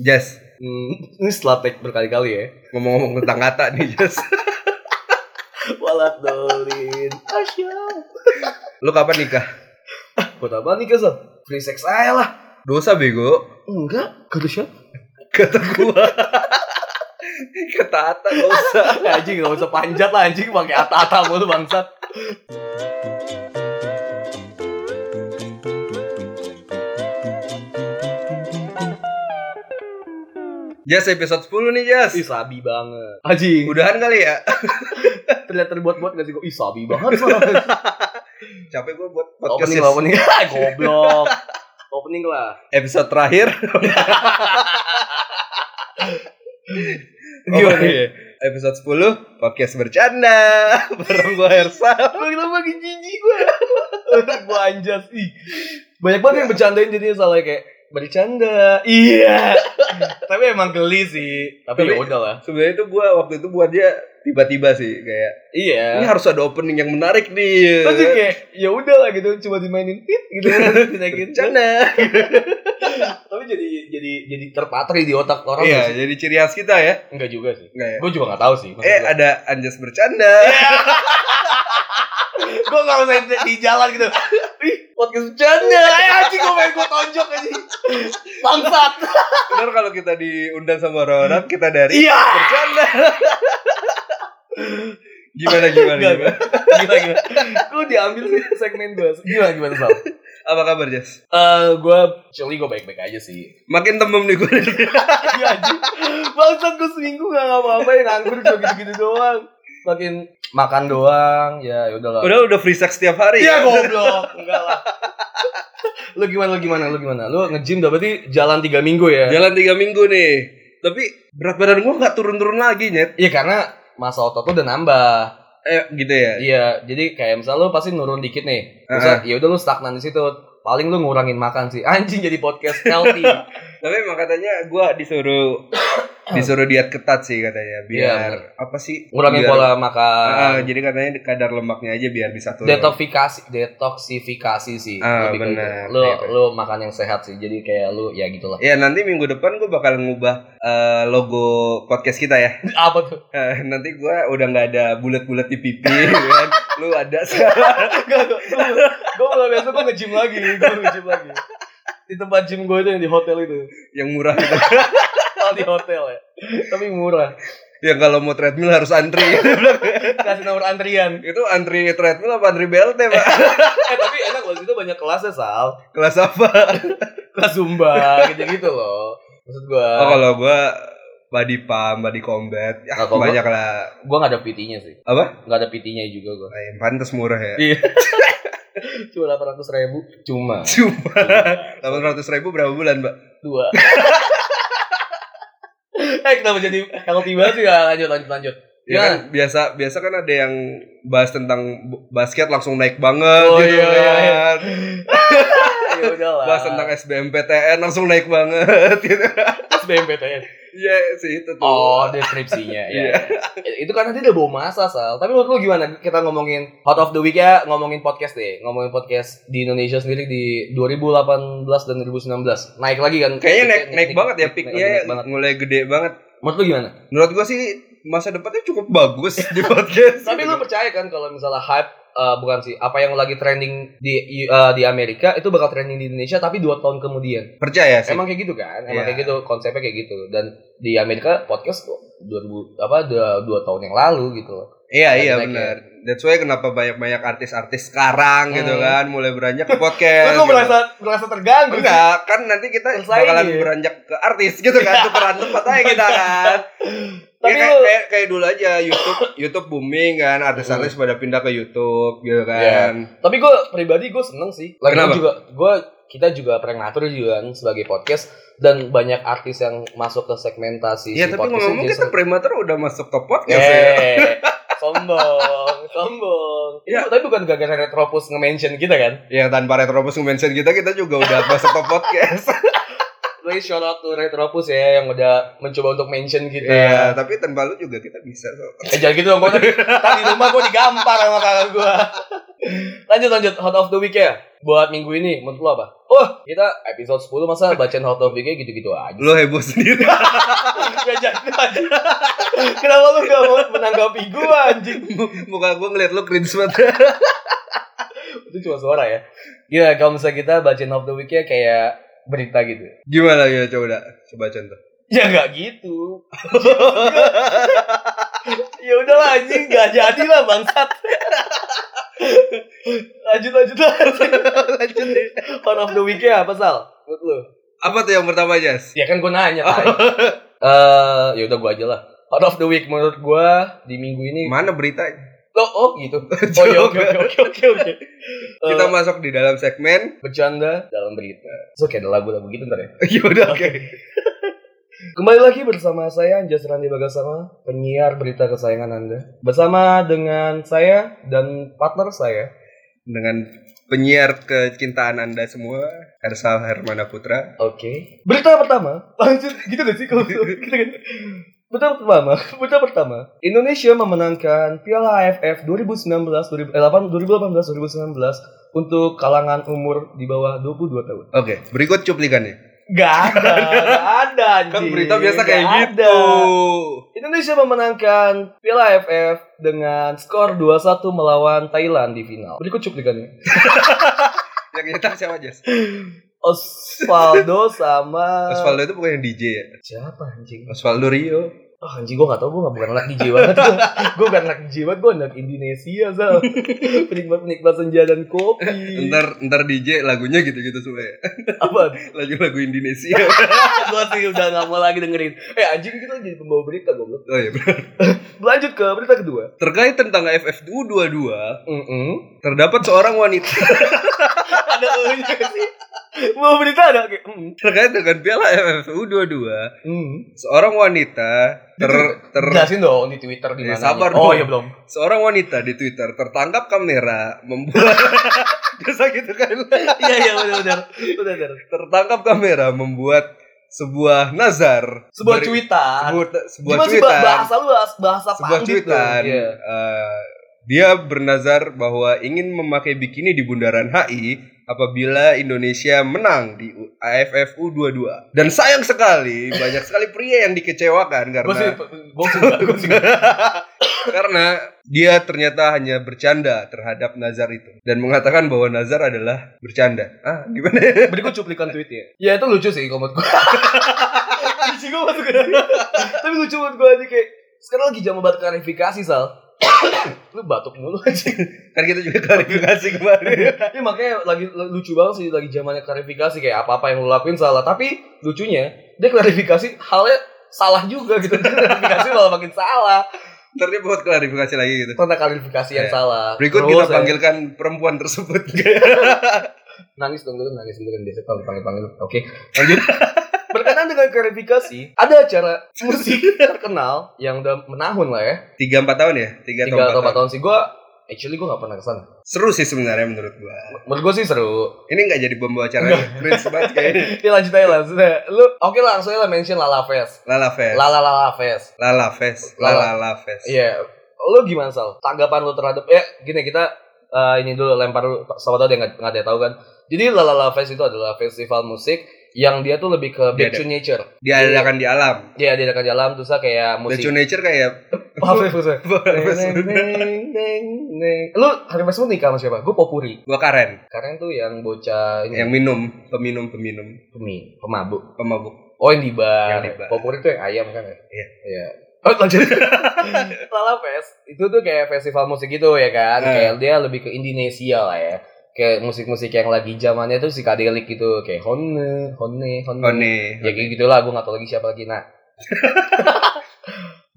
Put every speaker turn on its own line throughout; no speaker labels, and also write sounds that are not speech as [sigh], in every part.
Jas,
Hmm, ini setelah tag berkali-kali ya.
ngomong-ngomong tentang kata nih Jas.
Walat [laughs] dolin. Asyik.
Lu kapan nikah?
Buat apa nih kesel? Free sex aja lah.
Dosa bego.
Enggak, kata siapa?
Kata
[laughs]
gua. Kata Ata gak usah.
anjing gak usah panjat lah anjing pakai ata-ata mulu bangsat.
Jas episode 10 nih Jas.
Ih sabi banget. Anjing,
Udahan kali ya.
terlihat terbuat-buat gak sih gua? Ih sabi [laughs] banget soalnya.
Capek gua buat podcast. Jas.
opening lah, opening. Ah, [laughs] Goblok. Opening lah.
Episode
[laughs]
terakhir.
Gimana?
Oke. ya? Episode 10 podcast bercanda [laughs] bareng gua Hersal.
Bang Lama makin jijik gue. Otak gue anjas. Ih. Banyak banget yang bercandain jadinya salah kayak bercanda. Iya. Tapi emang geli sih. Tapi
Tapi-
ya udah lah.
Sebenarnya itu gua waktu itu buat dia tiba-tiba sih kayak ini
Iya.
harus ada opening yang menarik nih.
Terus dia kayak ya udah lah gitu cuma dimainin tit gitu dinaikin.
bercanda.
Tapi jadi jadi jadi terpatri di otak orang.
Iya,
gak sih?
jadi ciri khas kita ya.
Enggak juga sih.
Enggak ya?
Gue juga gak tahu sih.
Eh ada Anjas bercanda.
Iya. gue gak usah di, di jalan gitu. Ih, podcast bercanda. Eh, anjing gue main gue tonjok aja. Bangsat.
Ntar kalau kita diundang sama orang-orang kita dari
Iya.
bercanda. gimana gimana,
Enggak,
gimana?
gila gila gue diambil segmen gue gila gimana sal eh
Apa kabar Jas?
gue actually gue baik baik aja sih
Makin tembem nih gue.
iya anjing bangsat gue seminggu gak ngapa ngapain nganggur cuma gitu gitu doang makin makan doang ya ya udahlah
[laughs] udah udah free sex setiap hari.
iya
ya?
goblok enggak lah lu gimana lu gimana lu gimana lu nge-gym udah berarti jalan 3 minggu ya
Jalan tiga minggu nih. Tapi berat badan gue nggak turun-turun lagi nyet.
iya karena masa otot lu udah nambah
Eh gitu ya.
Iya, jadi kayak misalnya lu pasti nurun dikit nih. Terus ya udah lu stagnan di situ. Paling lu ngurangin makan sih. Anjing jadi podcast healthy.
Tapi emang katanya gue
[coughs]
disuruh disuruh diet ketat sih katanya
Iya,
biar apa sih?
Ngurangin
Biar- Ah,
pola makan.
jadi katanya kadar lemaknya aja biar
gitu.
bisa turun.
detoksifikasi detoksifikasi sih.
Ah,
Lebih ke
benar.
itu. Lu
Iya, benar.
lu makan yang sehat sih. Jadi kayak lu ya gitulah.
Ya nanti minggu depan gue bakal ngubah eh, logo podcast kita ya.
[laughs] Apa [laughs] tuh?
Eh, nanti gue udah nggak ada bulat-bulat di pipi, [laughs] gitu kan? Lu ada sekarang. [laughs]
Gue mulai besok gue nge-gym lagi. Gue nge-gym lagi. Di tempat gym gue itu yang di hotel itu.
yang murah gitu.
Oh, di hotel ya. Tapi murah.
yang kalau mau treadmill harus antri. [laughs]
Kasih nomor antrian.
itu antri treadmill apa antri BLT pak?
[laughs] Eh, tapi enak loh. Itu banyak kelasnya, Sal.
Kelas apa?
kelas zumba gitu-gitu gitu loh. Maksud gua,
Oh, kalau gue body pump, body combat, ya,
Nah, kalau
banyak lah.
gua gak ada PT-nya sih.
Apa?
Gak ada PT-nya juga gua.
Nah, yang pantas murah ya. [laughs]
Iya. [laughs] Cuma 800 ribu. Cuma.
Cuma delapan ratus ribu berapa bulan mbak?
Dua. [laughs] eh kenapa jadi healthy banget sih? Ya, lanjut, lanjut, lanjut.
Ya kan biasa biasa kan ada yang bahas tentang bu- basket langsung naik banget
Oh,
gitu
iya, iya,
kan.
iya. Ya udah lah.
Bahas tentang SBMPTN langsung naik banget [laughs] gitu.
SBMPTN.
Iya sih itu tuh.
Oh, deskripsinya.
Iya.
ya. [laughs] Itu kan nanti udah bawa masa, Sal. Tapi menurut lu gimana? Kita ngomongin Hot of the Week ya, ngomongin podcast deh. Ngomongin podcast di Indonesia sendiri di 2018 dan 2019. Naik lagi kan?
Kayaknya naik
Peaknya
naik banget ya
naik-
peaknya
naik banget.
mulai gede banget.
Menurut lu gimana?
Menurut gua sih masa depannya cukup bagus [laughs] di podcast.
Tapi lu percaya kan kalau misalnya hype eh, bukan sih apa yang lagi trending di eh, di Amerika itu bakal trending di Indonesia tapi dua tahun kemudian
percaya sih?
emang kayak gitu kan
Iya.
emang kayak gitu konsepnya kayak gitu dan di Amerika podcast 2000 apa dua, dua tahun yang lalu gitu
Iya
Lagi
iya
naik
benar. That's why kenapa banyak-banyak artis-artis sekarang gitu
Hmm.
kan mulai beranjak ke podcast.
Lu kok
gitu.
merasa merasa terganggu? sih?
Enggak, kan nanti kita
Selesai
bakalan
nih.
beranjak ke artis gitu kan, tukeran tempat aja
[laughs]
kita kan.
Tapi
ya, kayak,
lu
kayak, kayak dulu aja YouTube YouTube booming kan, artis-artis
Hmm.
pada pindah ke YouTube gitu kan.
tapi gue pribadi gue seneng sih. Lagi
Kenapa?
juga gue kita juga prank natur juga kan sebagai podcast dan banyak artis yang masuk ke segmentasi
Ya
Iya. si
tapi
podcast
ngomong
ini,
kita
Jason.
prematur udah masuk ke podcast ya.
Eh, sombong, sombong.
Ya.
Itu- Tapi bukan gara-gara Retropus nge-mention kita kan.
Ya tanpa Retrobus mention kita kita juga udah [laughs] masuk ke podcast.
Please shout out to Retropus ya yang udah mencoba untuk mention kita.
Iya, tapi tanpa lu juga kita bisa. kok.
Eh jangan gitu dong, gue tadi di rumah gue digampar sama kakak gue. Lanjut lanjut, hot of the week ya. buat minggu ini menurut lu apa? Wah, kita episode 10 masa bacain hot topic-nya gitu-gitu aja.
Lo heboh sendiri. [laughs]
Gak jadi aja. Kenapa lu gak mau menanggapi gua anjing?
Muka gue ngeliat lo cringe banget. [laughs]
Itu cuma suara ya. Gila, kalau misalnya kita bacain hot topic-nya kayak berita gitu.
Gimana ya coba dah. Coba contoh.
Ya nggak gitu. ya udahlah anjing nggak jadi lah bangsat. lanjut lanjut lanjut.
Lanjut deh.
One of the week ya apa sal? Menurut lu?
Apa tuh yang pertama Jas?
Ya kan gue nanya. Tai. Eh ya udah gue aja lah. One of the week menurut gue di minggu ini.
[laughs] Mana berita?
Oh, oh gitu. [laughs] Oh iya oke oke oke oke oke. Eh,
Kita masuk di dalam segmen. [laughs]
bercanda dalam berita. So kayak ada lagu-lagu gitu ntar ya.
Yaudah oke.
[laughs] Kembali lagi bersama saya Anjas Randi Bagasama, penyiar berita kesayangan Anda. Bersama dengan saya dan partner saya.
Dengan penyiar kecintaan anda semua, Hersal Hermana Putra.
Oke. Berita pertama, [laughs] lanjut gitu gak sih kalau [laughs] gitu kan? Berita pertama, [laughs] berita pertama. Indonesia memenangkan Piala AFF 2019 2018 2019 untuk kalangan umur di bawah 22 tahun.
Oke, berikut cuplikannya.
Gak ada, gak [laughs] ada anjing.
Kan berita biasa kayak
Gak
gitu.
ada. Indonesia memenangkan Piala AFF dengan skor 2-1 melawan Thailand di final. Berikut cuplikannya.
Yang nyetak siapa Jas?
Osvaldo sama
Osvaldo itu bukan yang DJ ya?
siapa anjing?
Osvaldo Rio.
Ah anjing gue gak tau gue gak bukan anak DJ banget Gue bukan anak DJ banget Gue anak Indonesia Zal Penikmat-penikmat senja dan kopi
Ntar ntar DJ lagunya gitu-gitu semua ya.
Apa?
[laughs] Lagu-lagu Indonesia. [laughs]
gue sih udah gak mau lagi dengerin Eh anjing kita jadi pembawa berita gue
Oh iya. bener.
Lanjut ke berita kedua
Terkait tentang AFF U22,
Mm-mm.
terdapat seorang wanita [laughs]
Ada elunya sih Mau berita ada kayak mm.
terkait dengan Piala AFF U22,
Mm.
seorang wanita ter ter
Jelasin dong di Twitter di
Eh,
mana
sabar dong.
Oh iya belum
seorang wanita di Twitter tertangkap kamera membuat [laughs] Biasa gitu kan. [laughs]
Iya iya benar-benar Benar-benar
Tertangkap kamera membuat sebuah nazar
Sebuah
Dari-
cuitan
sebuah, sebuah
Gimana sih bah-
cuitan
bahasa lu bahas- bahasa
sebuah
pandit dong.
cuitan
Iya.
eh, dia bernazar bahwa ingin memakai bikini di bundaran HI apabila Indonesia menang di U- AFF U22 dan sayang sekali banyak sekali pria yang dikecewakan
Gue
karena
sih Gue sih Gue sih
karena dia ternyata hanya bercanda terhadap nazar itu dan mengatakan bahwa nazar adalah bercanda ah gimana [laughs] ya?
Berikut cuplikan tweetnya. Ya itu lucu sih kalau menurut gue. [laughs] Lucu gue masuk ke Tapi lucu menurut gue aja kayak sekarang lagi jam obat klarifikasi sal. [coughs] lu batuk mulu aja.
kan kita juga klarifikasi kemarin
ya makanya lagi lucu banget sih lagi zamannya klarifikasi kayak apa apa yang lu lakuin salah. Tapi lucunya dia klarifikasi halnya salah juga gitu. Klarifikasi malah makin salah.
ntar dia buat klarifikasi lagi gitu
Karena klarifikasi
Ya.
yang salah.
berikut
Terus,
kita
ya,
panggilkan perempuan tersebut [laughs]
nangis dong dulu nangis dulu kan biasa kalau panggil panggil oke lanjut berkenaan dengan klarifikasi ada acara
[laughs]
musik terkenal yang udah menahun lah ya
tiga empat tahun ya tiga,
tiga atau empat tahun sih gue actually gue gak pernah kesana
seru sih sebenarnya menurut gua
menurut gue sih seru
[laughs] ini nggak jadi pembawa acara cringe banget kayaknya
ya lanjut aja langsung aja. lu oke lah langsung aja lah mention Lala Fest
Lala Fest
Lala Lala Fest
Lala Fest Lala Lala Fest
iya lu gimana Sal tanggapan lu terhadap ya gini kita eh, ini dulu lempar dulu sama tau dia nggak nggak ada yang tahu kan jadi Lala Lala Fest itu adalah festival musik yang dia tuh lebih ke
Iya,
back
Dia ada-
to nature
diadakan di alam
Iya, dia akan jalan terus lah kayak
Back
musik.
to Nature kayak
[laughs] Maaf ya,
[laughs]
maksudnya. Neng, neng, neng, neng. Lu hari Mas lu nikah sama siapa? Gue popuri.
gua karen
Karena itu yang bocah ini
yang minum peminum peminum
pemi, pemabuk.
pemabuk
Oh, yang di bar.
Yang di bar.
Popuri itu yang ayam kan ya?
Iya.
Iya. Oh, lanjut.
[laughs]
Lala Fest itu tuh kayak festival musik gitu ya kan.
Eh.
Kayak dia lebih ke Indonesia lah ya. Kayak musik-musik yang lagi zamannya tuh psychedelic gitu. Kayak Hone, Hone, Hone.
oh nih
Ya kayak gitulah, gue gak tau lagi siapa lagi.
[laughs]
Nah,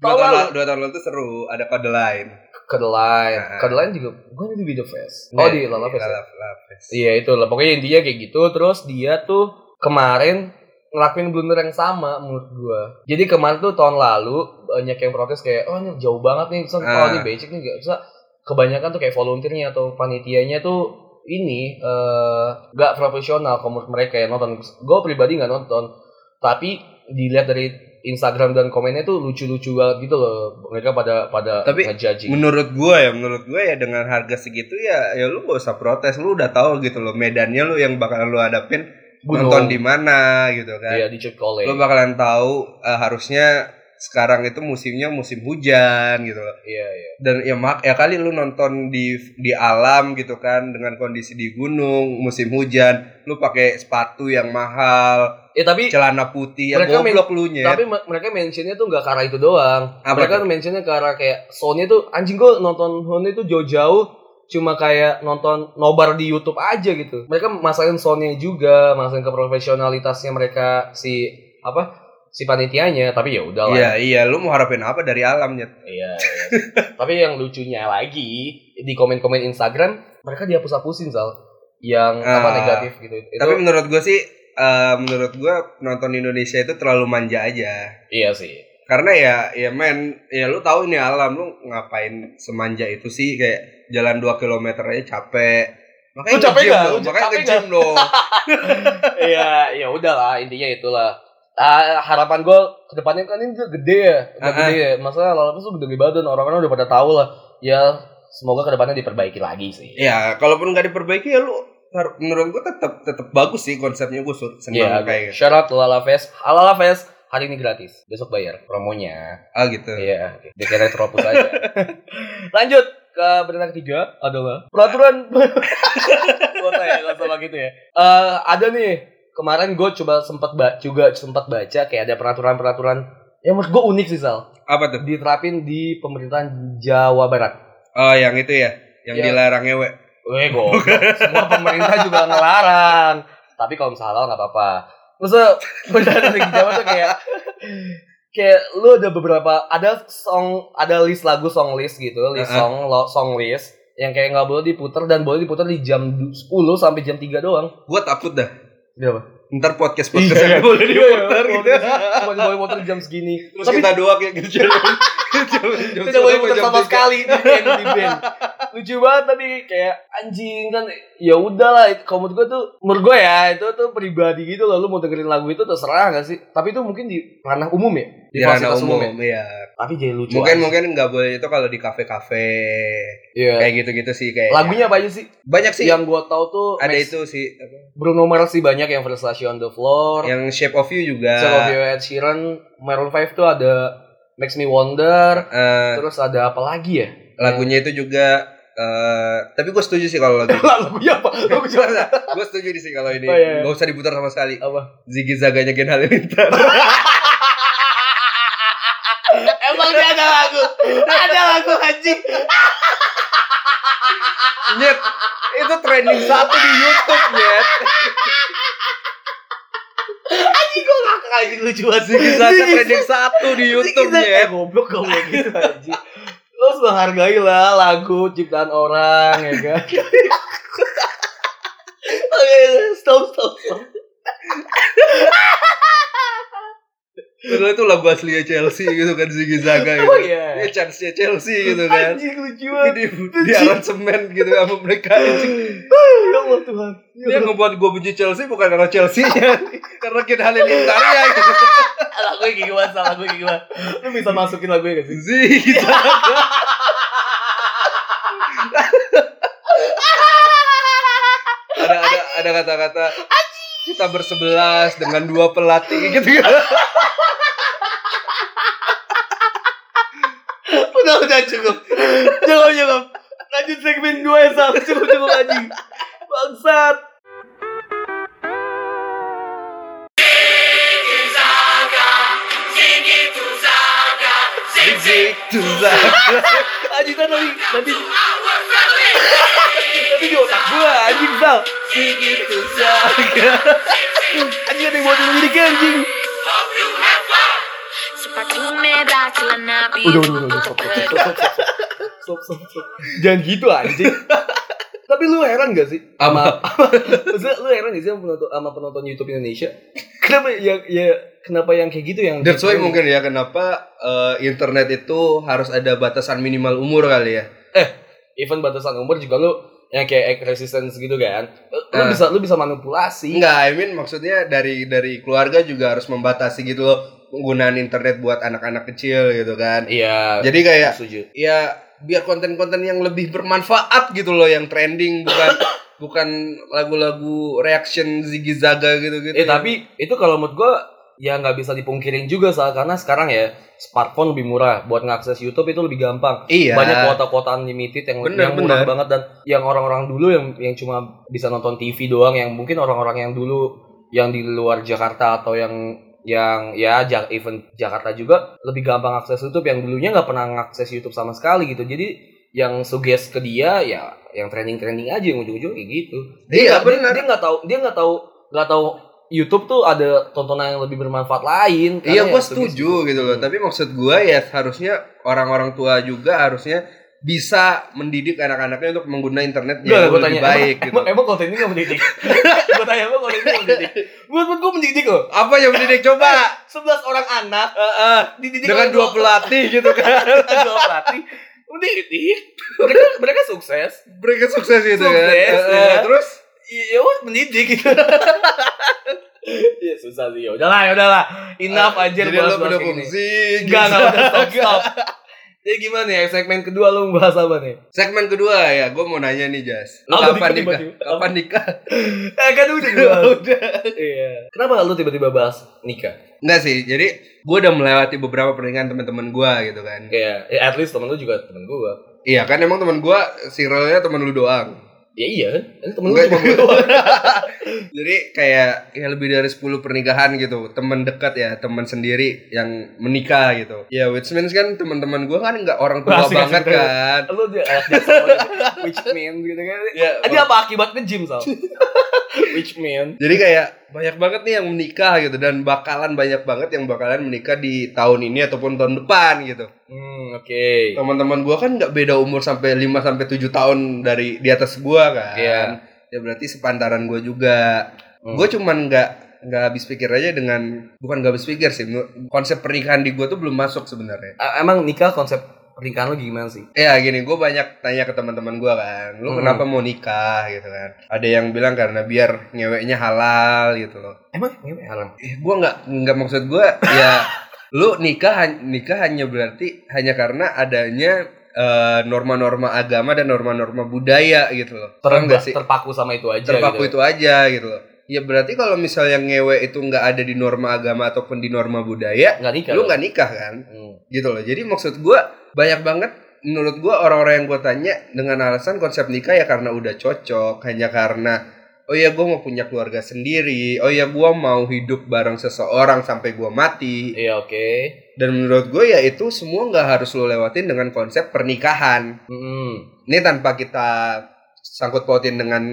dua tahun
Tolol.
lalu dua tahun lalu tuh seru ada pada lain
Kedelai.
Ah.
Kedelai juga gue di video fest. Oh, di Lala Fest. ya?
Lala Lala Fest
Iya itu lah pokoknya intinya kayak gitu terus dia tuh kemarin ngelakuin blunder yang sama menurut gua. Jadi kemarin tuh tahun lalu banyak yang protes kayak oh ini jauh banget nih, Terus, oh
Ah.
ini basic nih gak bisa. Kebanyakan tuh kayak volunteernya atau panitianya tuh ini eh gak profesional kalau menurut mereka yang nonton. Gue pribadi nggak nonton, tapi dilihat dari Instagram dan komennya tuh lucu-lucu banget gitu loh. Mereka pada pada
Tapi,
ngejudging.
Menurut gua ya, menurut gua ya dengan harga segitu ya, ya lu gak usah protes, lu udah tahu gitu loh medannya lu yang bakalan lu hadapin nonton di mana gitu kan.
Iya, di Chick College.
Lu bakalan tahu eh, harusnya sekarang itu musimnya musim hujan gitu loh.
Iya, iya.
Dan ya mak ya kali lu nonton di di alam gitu kan dengan kondisi di gunung musim hujan, lu pakai sepatu yang mahal,
Ya tapi
celana putih yang
Mereka min-
goblok lu nyet.
tapi me- mereka mentionnya tuh nggak ke arah itu doang.
Apa
mereka mentionnya ke arah kayak Sony tuh anjing gua nonton Sony tuh jauh-jauh cuma kayak nonton nobar di YouTube aja gitu. Mereka masain Sony juga, masain ke profesionalitasnya mereka si apa si panitianya. Tapi ya udahlah.
Iya, iya, lu mau harapin apa dari alamnya?
Iya. [laughs] iya. Tapi yang lucunya lagi di komen-komen Instagram mereka dihapus-hapusin Zal yang apa
Ah.
negatif gitu. Itu
Tapi menurut gua sih eh, menurut gua penonton Indonesia itu terlalu manja aja.
iya sih.
Karena ya ya men, ya lu tahu ini alam lu ngapain semanja itu sih kayak jalan 2 km aja capek. Makanya
Lu capek
nge-gym
nggak?
dong,
Lu
makanya
capek
ke gym dong. [laughs]
Iya, ya udahlah intinya itulah. Ah, harapan gue kedepannya kan ini udah gede ya, udah
Ah,
gede ya. Masalah lalu tuh gede banget dan orang-orang udah pada tahu lah. Ya semoga kedepannya diperbaiki lagi sih.
ya, kalaupun nggak diperbaiki ya lu har- menurut gua tetap tetap bagus sih konsepnya gua su- senang
Iya,
kayak gitu.
shout out to Lala Fest. Halala Fest hari ini gratis, besok bayar promonya.
Ah gitu.
Iya, dikira retropus aja. [laughs] Lanjut ke berita ketiga adalah [laughs] peraturan. Gua tanya langsung sama gitu ya. Eh, ada nih kemarin gue coba sempat ba- juga sempat baca kayak ada peraturan-peraturan yang menurut gue unik sih Sal
Apa tuh?
diterapin di pemerintahan Jawa Barat.
Oh, yang itu ya, yang
Iya.
dilarang ngewe.
Weh goblok, [laughs] semua pemerintah juga ngelarang. Tapi kalau misalnya nggak apa-apa. Maksudnya pemerintahan di Jawa tuh kayak kayak lu ada beberapa ada song ada list lagu song list gitu, list
Uh-uh.
song lo- song list yang kayak nggak boleh diputar dan boleh diputar di jam du- 10 sampai jam 3 doang.
Gua takut dah.
Kenapa?
Ntar podcast
Iya,
podcast
iya.
yang boleh
Iya, iya,
diputar
boleh
gitu.
Cuma boleh putar di jam segini.
Terus
Tapi
kita doa kayak
[laughs]
gitu.
Tidak boleh putar sama sekali di band, di
[laughs]
band. Lucu banget tadi kayak anjing kan ya udahlah itu kalau menurut gue tuh menurut gue ya itu tuh pribadi gitu loh lu mau dengerin lagu itu terserah gak sih tapi itu mungkin di ranah umum ya di
Di ranah
fasilitas
umum ya.
tapi jadi lucu
Mungkin
aja.
mungkin nggak boleh itu kalau di kafe-kafe
Iya.
kayak gitu-gitu sih kayak.
lagunya apa aja sih
banyak sih.
yang gue tahu tuh
ada
Max-
itu sih apa,
Bruno Mars sih banyak yang Versace on the floor
yang Shape of You juga.
Some of You, Ed Sheeran Maroon 5 tuh ada Makes Me Wonder
Eh,
terus ada apa lagi ya [laughs]
lagunya itu juga eh, tapi gue setuju sih kalau lagu.
lagunya apa lagu
[laughs]
juara
gue setuju sih kalau ini
Oh, iya.
nggak usah diputar sama sekali.
apa
Ziggy Zaganya Gen Halilintar.
Emang dia ada lagu? Ada lagu anjing.
[laughs] Nyet, itu trending satu di YouTube, Nyet.
Anjing gue ngakak anjing lucu banget sih.
Ziggy Zaga trending satu di YouTube,
ya. Eh,
Nyet.
goblok goblok gitu anjing. Lo harus menghargai lah lagu ciptaan orang ya kan. Oke, stop stop stop.
Padahal itu lagu aslinya Chelsea gitu kan, Ziggy Zaga gitu.
Oh
Ya
iya.
chance-nya Chelsea gitu kan.
Anjing lucu
Tapi
banget.
di, di aransemen gitu sama mereka.
Ya Allah Tuhan.
Dia ngebuat gue benci Chelsea bukan karena Chelsea nya karena kita halilintar ya gitu.
Lagu kayak gimana? Salah lagu kayak gimana? Lu bisa masukin lagu gak sih?
Ziggy Zaga. Ada ada ada kata-kata kita bersebelas dengan dua pelatih gitu gitu.
Udah udah cukup. Cukup cukup. Lanjut segmen 2 ya Sal. Cukup cukup anjing. Bangsat.
Ziggy Zaga.
Anjing kan nanti nanti Nanti di otak gua anjing Sal.
Ziggy Zaga.
Anjing ada yang buatin liriknya anjing.
Sepatu merah celana
Udah
biru
udah udah, udah stop stop stop, stop stop, stop. Stop stop stop. Jangan gitu anjing. Tapi lu heran gak sih?
Ama.
Maksudnya lu heran gak sih sama penonton, sama penonton YouTube Indonesia? Kenapa yang ya kenapa yang kayak gitu yang
That's why mungkin ya kenapa eh, internet itu harus ada batasan minimal umur kali ya.
even batasan umur juga lu yang kayak act resistance gitu kan. Lu, lu
Eh.
bisa lu bisa manipulasi.
Enggak, I mean maksudnya dari dari keluarga juga harus membatasi gitu loh. penggunaan internet buat anak-anak kecil gitu kan.
Iya.
Jadi kayak
setuju.
ya biar konten-konten yang lebih bermanfaat gitu loh yang trending bukan [coughs] bukan lagu-lagu reaction Ziggy Zaga gitu-gitu.
Eh tapi itu kalau menurut gua ya nggak bisa dipungkirin juga Sal karena sekarang ya smartphone lebih murah buat ngakses YouTube itu lebih gampang.
iya.
Banyak kuota-kuota unlimited yang
Bener,
yang murah
bener.
banget dan yang orang-orang dulu yang yang cuma bisa nonton TV doang yang mungkin orang-orang yang dulu yang di luar Jakarta atau yang yang ya ja- even Jakarta juga lebih gampang akses YouTube yang dulunya nggak pernah ngakses YouTube sama sekali gitu. Jadi yang suggest ke dia ya yang trending-trending aja yang ujung-ujung kayak gitu
Iya,
nggak-
benar.
Dia nggak tahu, dia nggak tahu, nggak tahu YouTube tuh ada tontonan yang lebih bermanfaat lain.
Iya,
Karena
gue
ya,
setuju gitu loh.
Hmm.
Tapi maksud gue ya harusnya orang-orang tua juga harusnya bisa mendidik anak-anaknya untuk menggunakan internet
Nggak,
yang
nggak, gua
lebih
tanya,
baik gitu.
Emang, emang konten ini nggak mendidik? [laughs] gue tanya, emang konten ini nggak mendidik? Buat buat gue mendidik loh.
Apa yang mendidik coba?
11 orang anak dididik
Dengan
oleh
dua
[laughs]
pelatih gitu kan.
dua pelatih. Mendidik. Mereka mereka sukses.
Mereka sukses gitu kan.
Sukses,
Eh, eh,
ya.
Terus
Iya, wah, mendidik gitu. [laughs] Iya susah sih. ya Udahlah, ya udahlah. Enough aja
jadi lo
bahas-bahas kayak
pendukung
gini.
Ziggy
Enggak, [laughs] enggak,
Zaga.
udah stop, stop. Jadi gimana ya segmen kedua lu bahas apa nih?
Segmen kedua ya, gue mau nanya nih Jas. Lo
Apa
kapan
nih,
nikah?
tiba-tiba?
Kapan nikah?
Eh, kan [laughs] udah dibahas. Iya. Kenapa lu tiba-tiba bahas nikah?
Enggak sih. Jadi gue udah melewati beberapa pernikahan teman-teman gue gitu kan.
Iya, ya, at least temen lu juga temen gua.
Iya kan emang teman gue circle-nya teman lu doang.
Ya iya kan? Ini temen lu
Enggak.
cuma gua [laughs] doang.
Jadi kayak ya lebih dari 10 pernikahan gitu, teman dekat ya, teman sendiri yang menikah gitu. Ya which means kan teman-teman gue kan nggak orang tua
Asik, asik,
banget
asik.
kan.
Lu dia alat jasa lu juga. which mean gitu kan.
Ya,
Ini apa akibat nge-gym, [laughs] Sal? which mean.
Jadi kayak banyak banget nih yang menikah gitu dan bakalan banyak banget yang bakalan menikah di tahun ini ataupun tahun depan gitu.
Hmm, oke.
Teman-teman gue kan nggak beda umur sampai 5 sampai 7 tahun dari di atas gue kan.
Iya.
Ya berarti sepantaran gue juga. Gue cuman nggak nggak habis pikir aja dengan bukan nggak habis pikir sih menurut- konsep pernikahan di gue tuh belum masuk sebenarnya.
A- emang nikah konsep pernikahan lu gimana sih?
Ya gini, gue banyak tanya ke teman-teman gue kan, lu
Hmm.
kenapa mau nikah gitu kan? Ada yang bilang karena biar ngeweknya halal gitu loh.
Emang gimana haram?
Eh, gue nggak nggak maksud gue
[laughs]
ya, lu nikah han- nikah hanya berarti hanya karena adanya eh, norma-norma agama dan norma-norma budaya gitu loh. Paham
Terba-
nggak sih?
terpaku sama itu aja
terpaku itu
gitu.
aja gitu loh. Ya berarti kalau misalnya ngewe itu nggak ada di norma agama ataupun di norma budaya,
Enggak
lu
nikah. Iya dong.
nggak nikah kan?
Hmm.
Gitu loh. Jadi maksud gua banyak banget menurut gua orang-orang yang gua tanya dengan alasan konsep nikah ya karena udah cocok, hanya karena oh ya gua mau punya keluarga sendiri, oh ya gua mau hidup bareng seseorang sampai gua mati.
Iya, oke.
Dan menurut gue ya itu semua nggak harus lo lewatin dengan konsep pernikahan
Hmm.
ini tanpa kita sangkut pautin dengan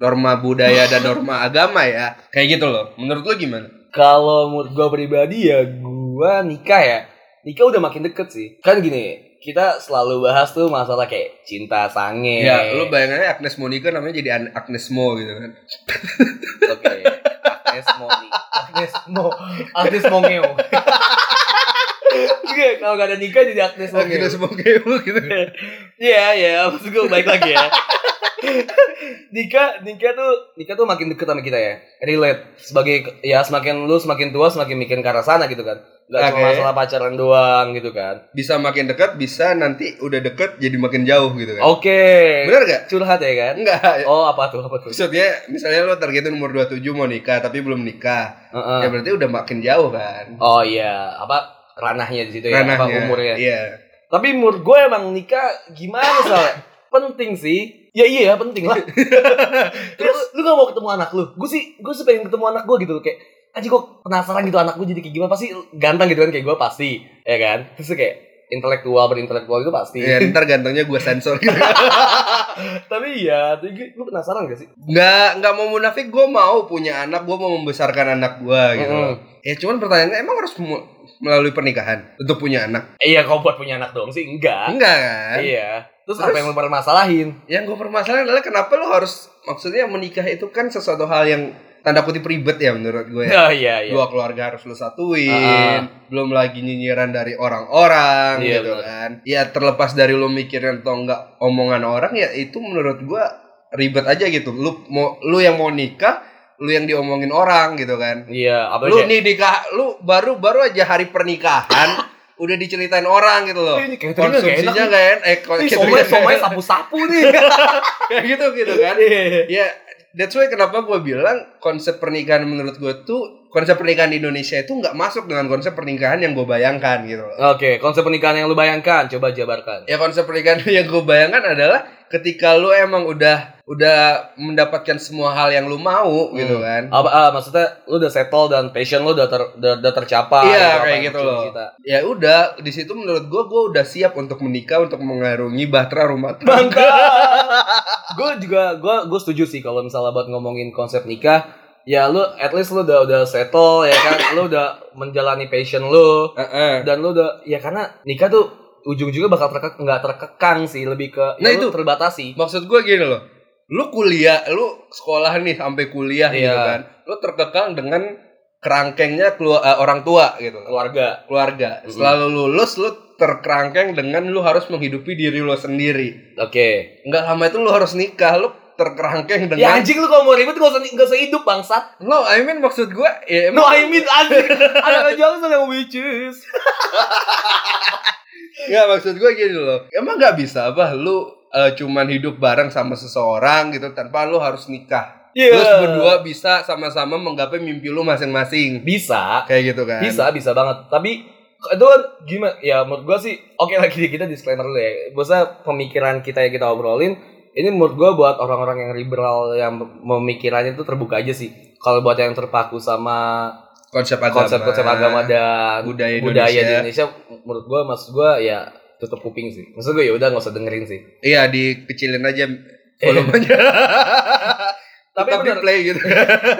norma budaya [laughs] dan norma agama ya kayak gitu loh menurut lo gimana
Kalau menurut gue pribadi ya gue nikah ya Nikah udah makin deket sih Kan gini kita selalu bahas tuh masalah kayak cinta sange
ya lo bayangannya Agnes Monica namanya jadi An- Agnes Mo gitu kan
Oke Agnes Mo nih. Agnes Mo Agnes Mo ngeo Juga kalau gak ada nikah jadi Agnes Mo ngeo
Agnes Mo kayak lo gitu
Iya iya maksud gue baik lagi ya Nikah, nikah tuh, nikah tuh makin deket sama kita ya, relate. Sebagai ya semakin lu semakin tua semakin mikirin ke arah sana gitu kan. Gak
Oke.
cuma masalah pacaran doang gitu kan.
bisa makin dekat bisa nanti udah dekat jadi makin jauh gitu kan
Oke.
bener Iya. gak
Curhat ya kan?
enggak
Oh, apa tuh? Apa tuh?
maksudnya misalnya lo targetin umur 27 mau nikah tapi belum nikah
Heeh.
ya berarti udah makin jauh kan
Oh iya, apa ranahnya di situ ya, apa
ranahnya
umurnya.
iya
Tapi menurut gue emang nikah gimana soalnya? penting sih. Ya iya,
[laughs]
penting lah. Terus lu gak mau ketemu anak lu? Gue sih, gue sih pengen ketemu anak gue gitu loh, kayak aja gue penasaran gitu anak gue jadi kayak gimana pasti ganteng gitu kan kayak gue pasti ya kan terus kayak intelektual berintelektual itu pasti
ya ntar gantengnya gue sensor gitu
[laughs] tapi iya tapi gue- lu penasaran gak sih
nggak nggak mau munafik gue mau punya anak gue mau membesarkan anak gue gitu
Mm-mm.
ya cuman pertanyaannya emang harus mu- melalui pernikahan untuk punya anak
iya kau buat punya anak doang sih enggak
enggak kan
Ah. iya terus,
Terus?
apa yang lu permasalahin
yang gue permasalahan adalah kenapa lo harus maksudnya menikah itu kan sesuatu hal yang tanda kutip ribet ya menurut gue ya.
oh iya iya
dua keluarga harus lo satuin
Ah.
belum lagi nyinyiran dari orang-orang
Iya,
gitu
benar.
kan ya terlepas dari lo mikirin atau enggak omongan orang ya itu menurut gue ribet aja gitu lu mau lu yang mau nikah lu yang diomongin orang gitu kan. Lu
Iya, apalagi kayak,
nih nikah, lu baru baru aja hari
[coughs]
pernikahan udah diceritain orang gitu loh.
"Eh, ini cateringnya gak enak.
Konsumsinya gak enak, eh
Nih,
cateringnya
somai
nggak [laughs]
somai
enak.
sapu-sapu nih. [laughs]
Kayak gitu gitu kan. Ya, that's why kenapa gue bilang konsep pernikahan menurut gue tuh konsep pernikahan di Indonesia itu nggak masuk dengan konsep pernikahan yang gue bayangkan gitu. loh.
Oke, konsep pernikahan yang lu bayangkan coba jabarkan.
Ya konsep pernikahan [laughs] yang gue bayangkan adalah ketika lu emang udah udah mendapatkan semua hal yang lu mau gitu
Hmm.
kan.
Apa ah, maksudnya lu udah settle dan passion lu udah ter, udah, udah tercapai.
Iya,
apa
kayak
yang
gitu
lu
loh.
[laughs] cita-cita.
Ya udah, di situ menurut gue gue udah siap untuk menikah untuk mengarungi bahtera rumah tangga.
gue juga gue gue setuju sih kalau misalnya buat ngomongin konsep nikah ya lu at least lu udah udah settle ya kan lu udah menjalani passion lu
Heeh.
dan lu udah ya karena nikah tuh ujung-ujungnya bakal terke- nggak terkekang sih lebih ke ya
Nah,
lu
itu.
terbatasi
Maksud gue gini loh. Lu kuliah, lu sekolah nih sampai kuliah gitu
Iya.
kan. Lu terkekang dengan kerangkengnya keluar, eh, orang tua gitu.
keluarga
Keluarga.
Mm-mm.
Setelah lu lulus lu terkerangkeng dengan lu harus menghidupi diri lu sendiri.
oke
Nggak lama itu lu harus nikah, lu terkerangkeng
ya
dengan
anjing lu kalau mau ribet gak usah gak usah hidup bangsat
No, I mean maksud gue ya
no
emang-
I mean anjing
[laughs]
ada Johnson yang witches
Nggak, maksud gue gini loh. Emang nggak bisa apa lu eh, cuman hidup bareng sama seseorang gitu tanpa lu harus nikah.
Iya.
Terus berdua bisa sama-sama menggapai mimpi lu masing-masing.
bisa
Kayak gitu kan.
bisa bisa banget tapi itu kan gimana ya menurut gua sih oke lagi kita disclaimer dulu ya Maksudnya pemikiran kita yang kita obrolin ini menurut gua buat orang-orang yang liberal yang memikirannya itu terbuka aja sih kalau buat yang terpaku sama
konsep agama
konsep-konsep agama dan
budaya Indonesia.
budaya di Indonesia menurut gua maksud gua ya tutup kuping sih maksud gua ya udah nggak usah dengerin sih
iya dikecilin aja volumenya
Eh. [laughs]
[laughs]
Tapi
tapi di
bener.
play
[laughs]
gitu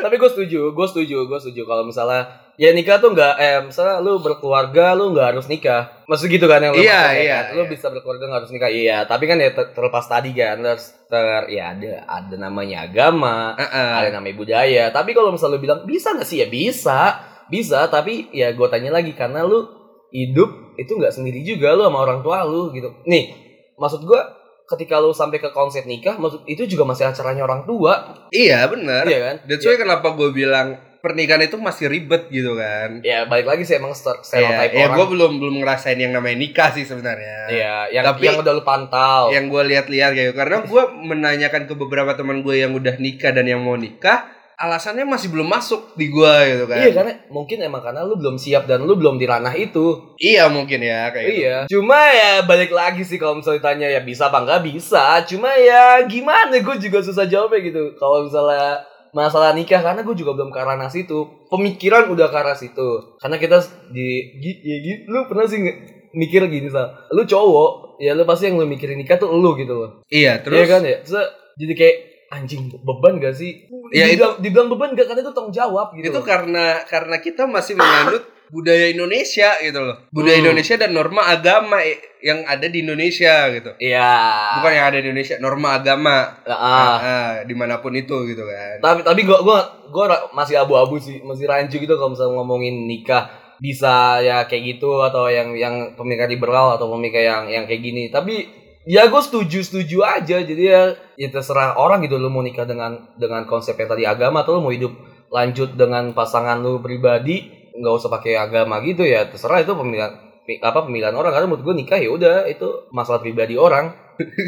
tapi gue setuju gue setuju gue setuju kalau misalnya ya nikah tuh nggak eh misalnya lu berkeluarga lu nggak harus nikah maksud gitu kan yang lu
Iya,
maksud, ya
iya,
kan? lu
iya.
bisa berkeluarga nggak harus nikah iya tapi kan ya ter- terlepas tadi kan lu harus ter ya ada ada namanya agama
Heeh.
ada namanya budaya tapi kalau misalnya lu bilang bisa nggak sih ya bisa bisa tapi ya gue tanya lagi karena lu hidup itu nggak sendiri juga lu sama orang tua lu gitu nih maksud gue ketika lu sampai ke konsep nikah maksud itu juga masih acaranya orang tua
iya bener
iya kan
that's why kenapa gue bilang pernikahan itu masih ribet gitu kan
ya balik lagi sih emang stere-
ya,
stereotype
ya
orang
gue belum belum ngerasain yang namanya nikah sih sebenarnya
Iya, yang
Tapi-
yang udah lu pantau
yang gue lihat-lihat kayak gitu. karena gue menanyakan ke beberapa teman gue yang udah nikah dan yang mau nikah alasannya masih belum masuk di gue gitu kan
iya karena mungkin emang karena lu belum siap dan lu belum di ranah itu
iya mungkin ya kayak gitu.
iya cuma ya balik lagi sih kalau misalnya ditanya ya bisa apa enggak bisa cuma ya gimana gue juga susah jawabnya gitu kalau misalnya masalah nikah karena gue juga belum ke ranah situ pemikiran udah ke arah situ karena kita di gi, ya gi- lu pernah sih nge- mikir gini sal lu cowok ya lu pasti yang lu mikirin nikah tuh lu gitu loh
iya terus
Iya kan ya. Terus jadi kayak anjing beban gak sih?
Ya, itu-
dibilang, dibilang beban gak karena itu tanggung jawab gitu.
itu karena karena kita masih menganut budaya Indonesia gitu loh budaya
Hmm.
Indonesia dan norma agama eh, yang ada di Indonesia gitu
Iya.
bukan yang ada di Indonesia norma agama
Ah.
Ah, dimanapun itu gitu
[laughs]
kan
Tapi tapi gua gua gua ra- masih abu-abu sih, masih rancu gitu kalau misalnya ngomongin nikah bisa ya kayak gitu atau yang yang pemikiran liberal atau pemikiran yang yang kayak gini. Tapi ya gue setuju setuju aja jadi ya, ya terserah orang gitu lu mau nikah dengan dengan konsep yang tadi agama atau lu mau hidup lanjut dengan pasangan lu pribadi nggak usah pakai agama gitu ya terserah itu pemilihan pi- apa pemilihan orang karena menurut gue nikah ya udah itu masalah pribadi orang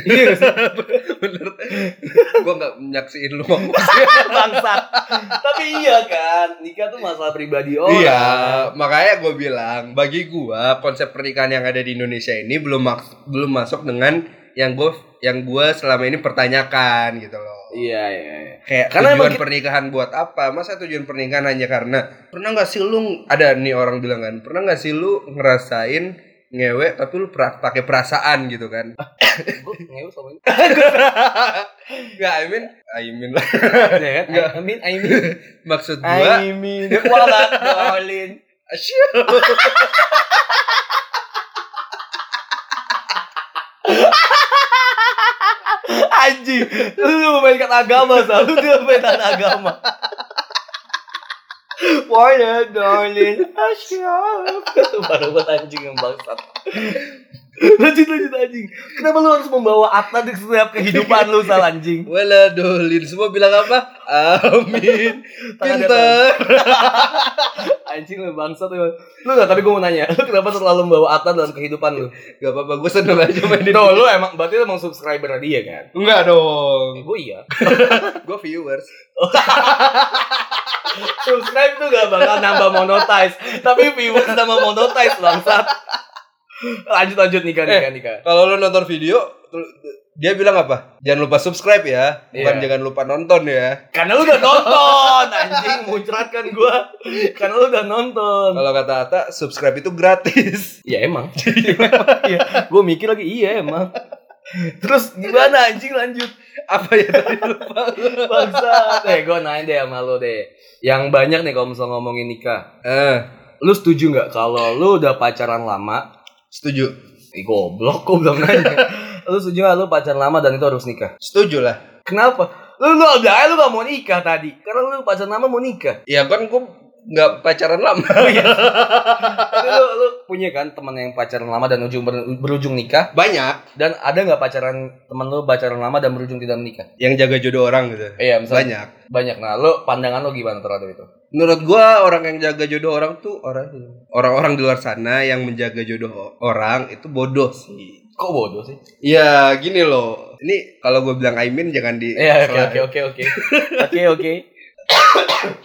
iya nggak sih?
bener gue nggak menyaksiin lu ngomong
[laughs] bangsat tapi iya kan nikah tuh masalah pribadi orang
iya makanya gue bilang bagi gue konsep pernikahan yang ada di Indonesia ini belum mak- belum masuk dengan yang gue yang gue selama ini pertanyakan gitu loh
iya iya iya.
kayak
Karena
tujuan
emang kita-
pernikahan buat apa masa tujuan pernikahan hanya karena pernah nggak sih lu ada nih orang bilang kan pernah nggak sih lu ngerasain ngewe tapi lu pra- pakai perasaan gitu kan
[laughs] gue ngewe sama
[laughs]
ini
nggak I mean I mean lah
iya kan I mean I mean
[laughs] maksud gua
mean walat dolin
Asyik.
anjing lu memainkan agama sal lu tidak memainkan agama Walat dolin asyik itu baru buat anjing yang bangsat
lanjut lanjut anjing kenapa lu harus membawa atletik setiap kehidupan lu sal anjing
Waladolin semua bilang apa? Amin.
Tangan di atas.
Pinter.
anjing lu bangsat lu lu nggak tapi gue mau nanya lu kenapa selalu membawa atlet dalam kehidupan lu
Gak apa-apa, gue seneng aja main di
no lu emang berarti lu emang subscriber dia kan
Enggak dong.
Gue iya.
Gue viewers.
subscribe tuh gak bakal nambah monetize tapi viewers nambah monetize bangsat lanjut lanjut nih kan
Eh.
nih kan
Kalau lo nonton video, tel- dia bilang apa? Jangan lupa subscribe ya, bukan
Iya.
jangan lupa nonton ya.
karena lu udah nonton anjing muncrat kan gue karena lu udah nonton
Kalau kata Ata, subscribe itu gratis. [laughs]
Ya emang.
iya gue mikir lagi iya emang terus gimana anjing lanjut
apa ya tadi lupa?
bangsa
Eh gue nanya deh sama lo deh. Yang banyak nih kalau misal ngomongin nikah.
Eh,
Lu setuju nggak kalau lu udah pacaran lama?
setuju.
Ih goblok kok belum nanya. lu setuju nggak lu pacaran lama dan itu harus nikah?
Setuju lah.
Kenapa? Lu lu udah aja lu gak mau nikah tadi. Karena lu pacaran lama mau nikah. [laughs]
Ya kan gue nggak pacaran lama. [laughs]
Tapi lu, lu punya kan teman yang pacaran lama dan ujung ber- berujung nikah
Banyak
dan ada nggak pacaran teman lu pacaran lama dan berujung tidak menikah?
yang jaga jodoh orang gitu.
Iya, misalnya
Banyak.
banyak. Nah, lu pandangan lu gimana terhadap itu?
Menurut gua orang yang jaga jodoh orang tuh orang orang-orang di luar sana yang menjaga jodoh o- orang itu bodoh sih.
Kok bodoh sih?
Ya gini loh. Ini kalau gua bilang I mean jangan di
Iya, oke oke oke oke. [laughs] Oke oke. [coughs]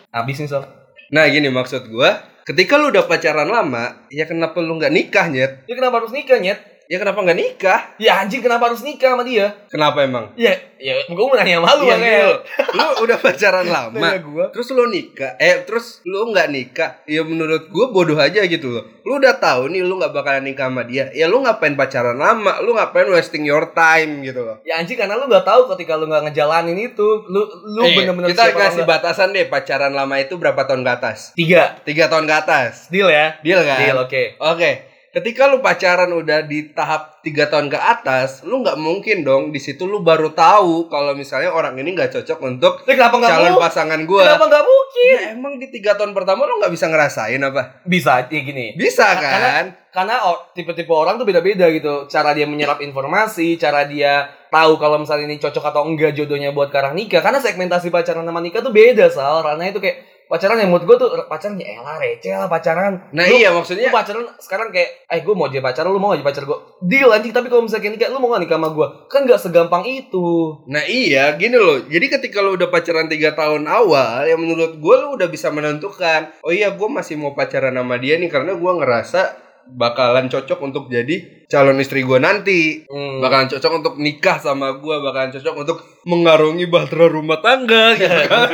Habis nih, Sob.
Nah, gini maksud gua, ketika lu udah pacaran lama, ya kenapa lu nggak nikah, Nyet?
Ya kenapa harus nikah, Nyet?
Ya kenapa nggak nikah?
Ya anjing kenapa harus nikah sama dia?
Kenapa emang?
Ya, ya gue mau nanya sama lu
Iya,
makanya.
gini loh. Lu udah pacaran lama.
Nanya gua.
Terus lu nikah, eh terus lu nggak nikah, ya menurut gue bodoh aja gitu loh. Lu udah tahu nih lu nggak bakalan nikah sama dia, ya lu ngapain pacaran lama, lu ngapain wasting your time gitu loh.
Ya anjing karena lu gak tahu ketika lu gak ngejalanin itu, lu lu
Eh,
bener-bener
kita
siap apa
kasih
enggak.
batasan deh pacaran lama itu berapa tahun ke atas?
tiga
Tiga tahun ke atas,
deal ya.
deal kan?
Deal oke.
Oke, ketika lu pacaran udah di tahap tiga tahun ke atas, lu nggak mungkin dong di situ lu baru tahu kalau misalnya orang ini nggak cocok untuk
Tapi kenapa gak
calon
mungkin?
pasangan
Kenapa
gua.
gak mungkin?
Ya, emang di tiga tahun pertama lu nggak bisa ngerasain apa?
Bisa ya gini.
Bisa
Karena-
kan?
Karena o- tipe-tipe orang tuh beda-beda gitu. Cara dia menyerap informasi, cara dia tahu kalau misalnya ini cocok atau enggak jodohnya buat karang nikah. Karena segmentasi pacaran sama nikah tuh beda, Sal. Karena itu kayak pacaran yang menurut gue tuh pacaran ya elah receh lah pacaran.
Nah
Lu-
iya
Lu
maksudnya
pacaran sekarang kayak, eh gue mau jadi pacaran, lu mau gak jadi pacar gue? Deal anjing, tapi kalau misalnya kayak nikah, lu mau gak nikah sama gue? Kan gak segampang itu.
Nah iya gini loh Jadi ketika lo udah pacaran tiga tahun awal Ya menurut gue lo udah bisa menentukan Oh iya gue masih mau pacaran sama dia nih Karena gue ngerasa bakalan cocok untuk jadi calon istri gue nanti
Hmm.
Bakalan cocok untuk nikah sama gue Bakalan cocok untuk mengarungi bahtera rumah tangga gitu kan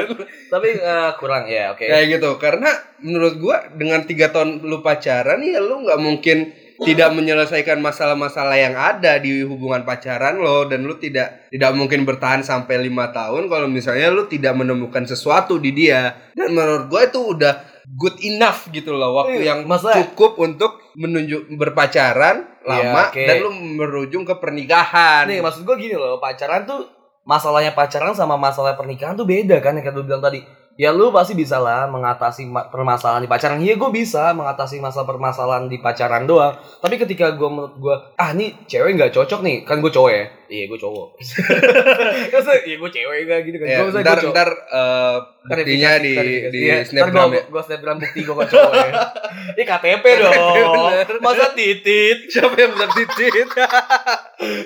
Tapi eh, kurang ya, oke.
Kayak gitu Karena menurut gue dengan tiga tahun lu pacaran Ya lo nggak mungkin tidak menyelesaikan masalah-masalah yang ada di hubungan pacaran lo dan lu tidak tidak mungkin bertahan sampai lima tahun kalau misalnya lu tidak menemukan sesuatu di dia dan menurut gue itu udah good enough gitu loh waktu
Iya,
yang
masa-
cukup untuk menunjuk berpacaran
Iya,
lama
oke.
dan lu berujung ke pernikahan
Nah, Nih maksud gue gini loh, pacaran tuh masalahnya pacaran sama masalah pernikahan tuh beda kan yang kayak lu bilang tadi. Ya lu pasti bisa lah mengatasi ma- permasalahan di pacaran. Iya gue bisa mengatasi masalah permasalahan di pacaran doang. Tapi ketika gue menurut gue, ah nih cewek nggak cocok nih, kan gue cowok ya. Iya gue cowok. [laughs] Terus iya gue cewek gak gitu kan.
Ya,
Gua misalnya
ntar
gua cowok.
ntar eh, buktinya di
Klarifikasi,
di
klarifikasi. Iya, ntar
snapgram
[laughs] gua,
ya.
gua snapgram bukti gue kok cowok ya. [laughs] Ini KTP dong.
Bener.
[laughs] Masa titit.
siapa yang bilang titit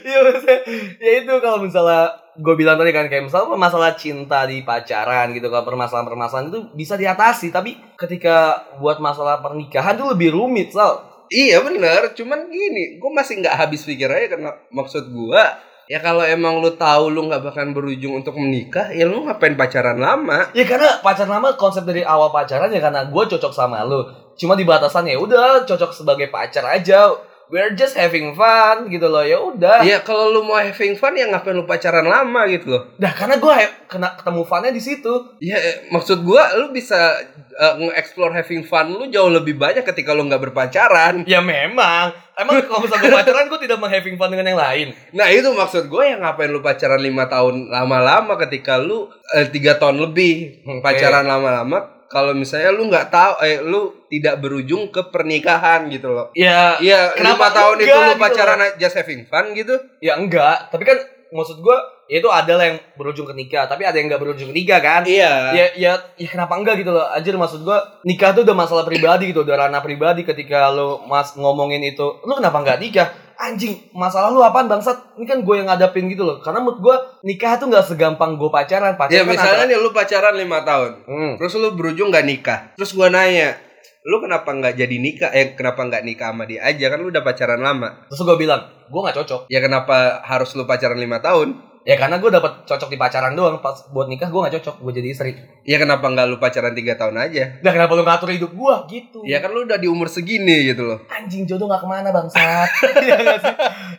Iya maksudnya, ya itu kalau misalnya gue bilang tadi kan kayak misalnya masalah cinta di pacaran gitu kalau permasalahan-permasalahan itu bisa diatasi tapi ketika buat masalah pernikahan tuh lebih rumit sal
Iya bener, cuman gini, gue masih nggak habis pikir aja karena maksud gua ya kalau emang lu tahu lu nggak bakalan berujung untuk menikah, ya lu ngapain pacaran lama?
ya karena pacaran lama konsep dari awal pacaran ya karena gue cocok sama lo cuma di batasannya udah cocok sebagai pacar aja we're just having fun gitu loh ya udah
Ya kalau lu mau having fun ya ngapain lu pacaran lama gitu loh.
nah karena gue kena ketemu funnya di situ
Ya eh, maksud gua lu bisa eh, nge-explore having fun lu jauh lebih banyak ketika lu nggak berpacaran.
ya memang emang kalau misalnya gua pacaran gue tidak menghaving fun dengan yang lain
Nah itu maksud gua ya ngapain lu pacaran lima tahun lama-lama ketika lu eh, tiga tahun lebih
Oke.
pacaran lama-lama kalau misalnya lu nggak tahu eh lu tidak berujung ke pernikahan gitu loh.
Ya,
Iya, lima
Kenapa
tahun itu
enggak
lu
gitu
pacaran just having fun gitu.
ya enggak. Tapi kan maksud gue, ya itu ada lah yang berujung ke nikah. Tapi ada yang nggak berujung ke nikah kan?
Iya.
ya, ya, ya kenapa enggak gitu loh anjir maksud gua nikah tuh udah masalah pribadi gitu udah ranah pribadi ketika lo mas ngomongin itu lu kenapa enggak nikah anjing masalah lu apaan bangsat ini kan gue yang ngadapin gitu loh karena menurut gua nikah tuh nggak segampang gue pacaran
Ya
pacaran kan
misalnya
antara-
nih lu pacaran lima tahun.
Hmm.
Terus lu berujung nggak nikah. Terus gua nanya, lu kenapa nggak jadi nikah? Eh kenapa nggak nikah sama dia aja? Kan lu udah pacaran lama.
terus gue bilang gue nggak cocok
Ya kenapa harus lu pacaran lima tahun?
ya karena gue dapet cocok di pacaran doang pas buat nikah gue nggak cocok gue jadi istri
Ya kenapa nggak lu pacaran tiga tahun aja?
nah kenapa lu ngatur hidup gue gitu
Ya kan lu udah di umur segini gitu loh.
anjing jodoh nggak kemana bangsat [laughs] Iya nggak sih?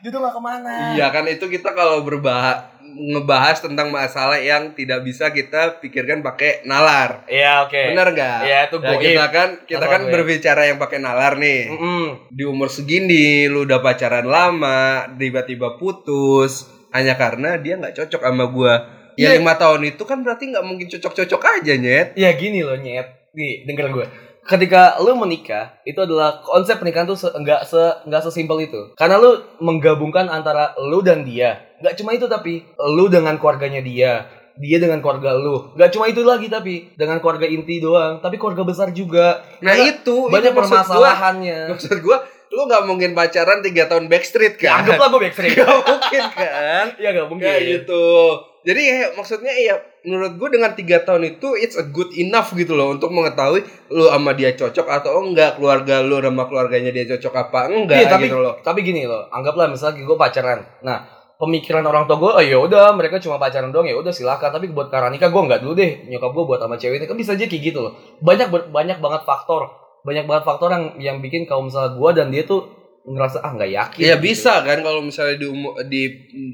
jodoh nggak kemana
Iya kan itu kita kalau berbahas ngebahas tentang masalah yang tidak bisa kita pikirkan pakai nalar.
Iya, oke
Benar nggak?
Iya, itu
Nah,
goib.
kita kan kita
Nalar
kan
goib.
berbicara yang pakai nalar nih.
Mm-mm.
Di umur segini lu udah pacaran lama, tiba-tiba putus hanya karena dia nggak cocok sama gua. Ya
Iya.
lima tahun itu kan berarti nggak mungkin cocok-cocok aja nyet.
Ya gini loh nyet. Nih, denger gue. Ketika lu menikah, itu adalah konsep pernikahan tuh se- nggak se nggak sesimpel itu. Karena lu menggabungkan antara lu dan dia. Nggak cuma itu tapi lu dengan keluarganya dia, dia dengan keluarga lu. Nggak cuma itu lagi tapi dengan keluarga inti doang, tapi keluarga besar juga.
Nah
Karena
itu
Iya, banyak
itu maksud gua.
permasalahannya.
[laughs] Maksud gua lu nggak mungkin pacaran tiga tahun backstreet
[laughs] Ya,
kan?
anggaplah gue
[laughs]
backstreet.
Nggak mungkin kan?
ya nggak mungkin.
Ya gitu. Jadi ya, maksudnya ya menurut gue dengan tiga tahun itu it's a good enough gitu loh untuk mengetahui lu sama dia cocok atau enggak keluarga lu sama keluarganya dia cocok apa enggak
Iya, tapi
gitu loh.
tapi gini loh, anggaplah misalnya gue pacaran. Nah, pemikiran orang tua gue, oh, ya udah mereka cuma pacaran doang ya udah silakan. Tapi buat karena nikah gue nggak dulu deh. Nyokap gue buat sama cewek ini kan bisa aja kayak gitu loh. Banyak ber- banyak banget faktor, banyak banget faktor yang yang bikin kalau misalnya gue dan dia tuh ngerasa ah nggak yakin.
Iya
gitu.
bisa kan kalau misalnya di, umu- di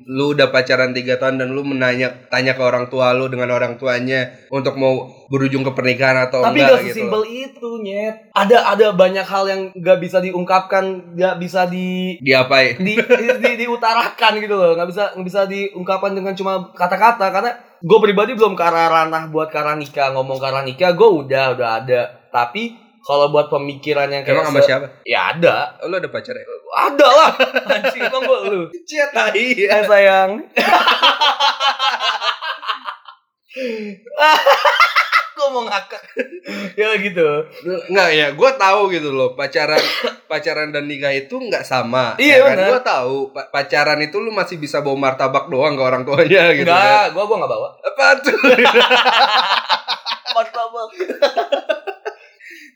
lu udah pacaran tiga tahun dan lu menanya tanya ke orang tua lu dengan orang tuanya untuk mau berujung ke pernikahan atau
Tapi
enggak
gak
gitu.
sesimpel
loh.
itu, Nyet. Ada ada banyak hal yang gak bisa diungkapkan, gak bisa di
Diapain?
di, di- di- diutarakan gitu loh nggak bisa nggak bisa diungkapkan dengan cuma kata-kata karena gue pribadi belum ke arah ranah buat ke arah nikah ngomong ke arah nikah gue udah udah ada tapi kalau buat pemikiran yang kayak
Emang sama
se-
siapa?
ya ada
Lu ada pacar ya?
ada lah [laughs] anjing emang gue lu
Cita
eh sayang [laughs] gue mau ngakak ya gitu
Enggak ya, gue tahu gitu loh pacaran [coughs] pacaran dan nikah itu nggak sama.
Iya,
ya kan?
benar.
Gue tahu pa- pacaran itu lu masih bisa bawa martabak doang ke orang tuanya gitu kan.
enggak gue gue nggak bawa
Apa tuh?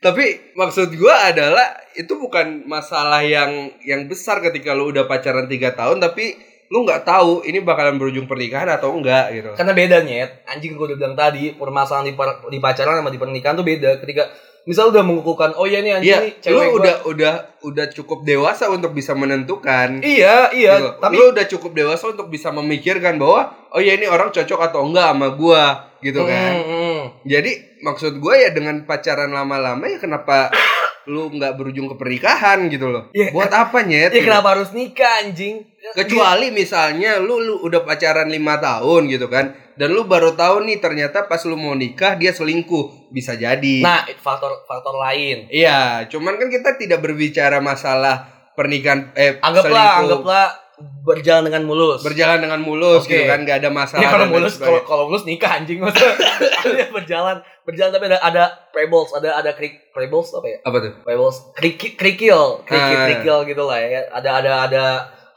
Tapi maksud gue adalah itu bukan masalah yang yang besar ketika lu udah pacaran tiga tahun tapi lu nggak tahu ini bakalan berujung pernikahan atau enggak gitu.
Karena beda nyet, anjing gue udah bilang tadi, permasalahan di, per- di pacaran sama di pernikahan tuh beda. Ketika misal udah mengukuhkan, oh iya nih anjing nih
Iya,
cewek
lu
gua-
udah udah udah cukup dewasa untuk bisa menentukan.
Iya, iya,
Gitu.
tapi
lu udah cukup dewasa untuk bisa memikirkan bahwa oh ya ini orang cocok atau enggak sama gua gitu kan.
Hmm, hmm.
Jadi maksud gua ya dengan pacaran lama-lama ya kenapa lu nggak berujung ke pernikahan gitu loh.
Iya.
Buat apa nyet?
Ya
Gitu.
kenapa harus nikah anjing?
Kecuali misalnya lu, lu udah pacaran lima tahun gitu kan dan lu baru tahu nih ternyata pas lu mau nikah dia selingkuh bisa jadi.
Nah, faktor faktor lain.
iya, cuman kan kita tidak berbicara masalah pernikahan eh
Anggaplah,
selingkuh.
anggaplah berjalan dengan mulus.
berjalan dengan mulus
Oke.
gitu kan nggak ada masalah
Ya, kalau
dan lain
mulus
sebagainya.
kalau kalau mulus nikah anjing maksudnya. [laughs] Ada berjalan, berjalan tapi ada ada pebbles, ada ada krik pebbles apa ya?
apa tuh
Pebbles, kriki, krikil, kriki,
Ah.
krikil gitu lah ya. Ada ada ada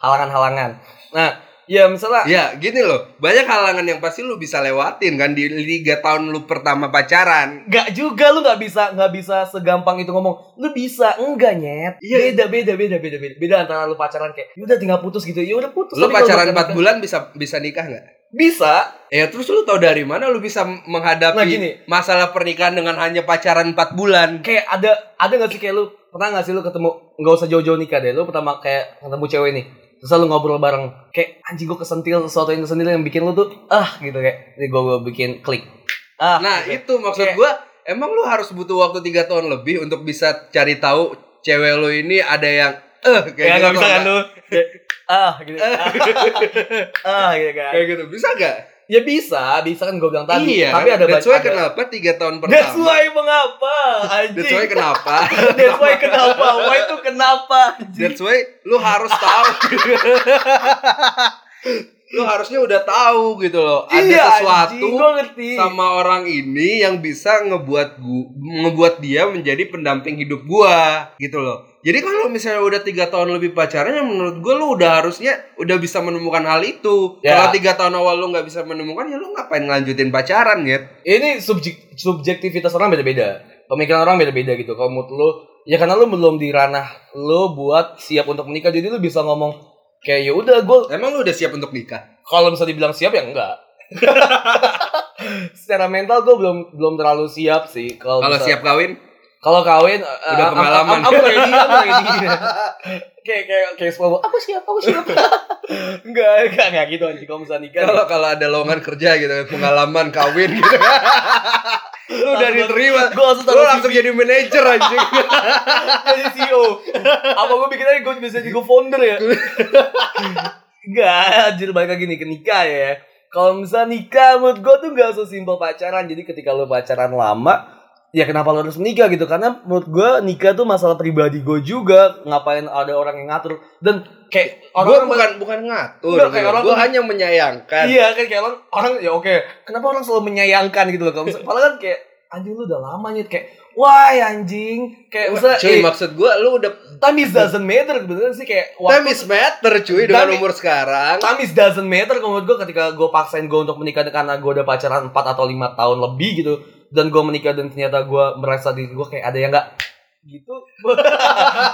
halangan-halangan. Nah, ya misalnya
ya gini loh banyak halangan yang pasti lu bisa lewatin kan di liga tahun lu pertama pacaran
nggak juga lu nggak bisa nggak bisa segampang itu ngomong lu bisa enggak nyet
Iya.
beda beda beda beda beda beda antara lu pacaran kayak "Ya udah tinggal putus gitu ya udah putus
lu
Tapi kalau
pacaran
bukan-
4 bulan bisa bisa nikah nggak
bisa
ya terus lu tau dari mana lu bisa menghadapi
Nah, gini.
masalah pernikahan dengan hanya pacaran 4 bulan
kayak ada ada nggak sih kayak lu pernah nggak sih lu ketemu nggak usah jauh-jauh nikah deh lu pertama kayak ketemu cewek nih terus lu ngobrol bareng kayak anjing gua kesentil sesuatu yang kesentil yang bikin lu tuh ah gitu kayak ini gua, gua bikin klik ah [laughs]
nah
gitu.
itu maksud
Kayak-
gua emang lu harus butuh waktu tiga tahun lebih untuk bisa cari tahu cewek lu ini ada yang eh kayak gitu
kayak nggak
atau
bisa kan
nggak?
[laughs] lu Kayak, ah gitu ah, ah gitu kan
kayak gitu bisa gak
ya bisa, bisa kan gue bilang tadi.
iya,
tapi ada
that's
banyak.
why
ada-
kenapa tiga tahun pertama.
That's why mengapa? Anjing.
That's
[laughs]
why kenapa.
That's why kenapa? Why itu kenapa?
That's why lu harus
[laughs]
tahu. lu harusnya udah tahu gitu loh. Ada sesuatu
gue Iya, ngerti.
sama orang ini yang bisa ngebuat gua, ngebuat dia menjadi pendamping hidup gua gitu loh. Jadi kalau misalnya udah tiga tahun lebih pacaran, ya menurut gua lu udah harusnya udah bisa menemukan hal itu.
Ya.
Kalau tiga tahun awal lu nggak bisa menemukan, ya lu ngapain ngelanjutin pacaran gitu?
Ini subjek subjektivitas orang beda-beda. Pemikiran orang beda-beda gitu. Kalau menurut lu, ya karena lu belum di ranah lu buat siap untuk menikah. Jadi lu bisa ngomong kayak ya udah gue
Emang lu udah siap untuk nikah?
kalau bisa dibilang siap ya enggak. [laughs] Secara mental gue belum belum terlalu siap sih kalau
Kalau
bisa-
siap kawin,
Kalau kawin uh,
Udah
I'm-
pengalaman.
I'm, I'm ready,
[laughs]
I'm ready. kayak kayak kayak semua aku siap, aku
[laughs]
siap. enggak, enggak enggak gitu anjing kalau bisa nikah.
kalau kalau ada lowongan kerja gitu,
[laughs]
pengalaman kawin gitu. lu udah
Langsung-
diterima,
Gue langsung
lu
taruh
langsung jadi manajer anjing.
jadi CEO. Apa gue bikin aja gue bisa jadi founder ya? Enggak, anjir balik lagi nih ke nikah ya. Kalau misalnya nikah menurut gue tuh gak sesimpel pacaran. Jadi ketika lo pacaran lama, ya kenapa lo harus menikah gitu? Karena menurut gue nikah tuh masalah pribadi gue juga. Ngapain ada orang yang ngatur. Dan kayak
Gue
[laughs] orang
bukan bukan ngatur,
Enggak, kayak orang-
gue hanya menyayangkan.
Iya kan kayak orang, orang ya oke. Kenapa orang selalu menyayangkan gitu loh? Kalau misalnya, padahal kan kayak anjing lu udah lama nyet kayak wah anjing kayak misalnya
Cuy,
eh,
maksud gue lu udah
time is doesn't matter beneran sih kayak waktu
time is matter cuy dengan
Time-
umur sekarang.
time is doesn't matter kalau menurut gue ketika gue paksain gue untuk menikah karena gue udah pacaran 4 atau 5 tahun lebih gitu dan gue menikah dan ternyata gue merasa diri gue kayak ada yang gak gitu [laughs]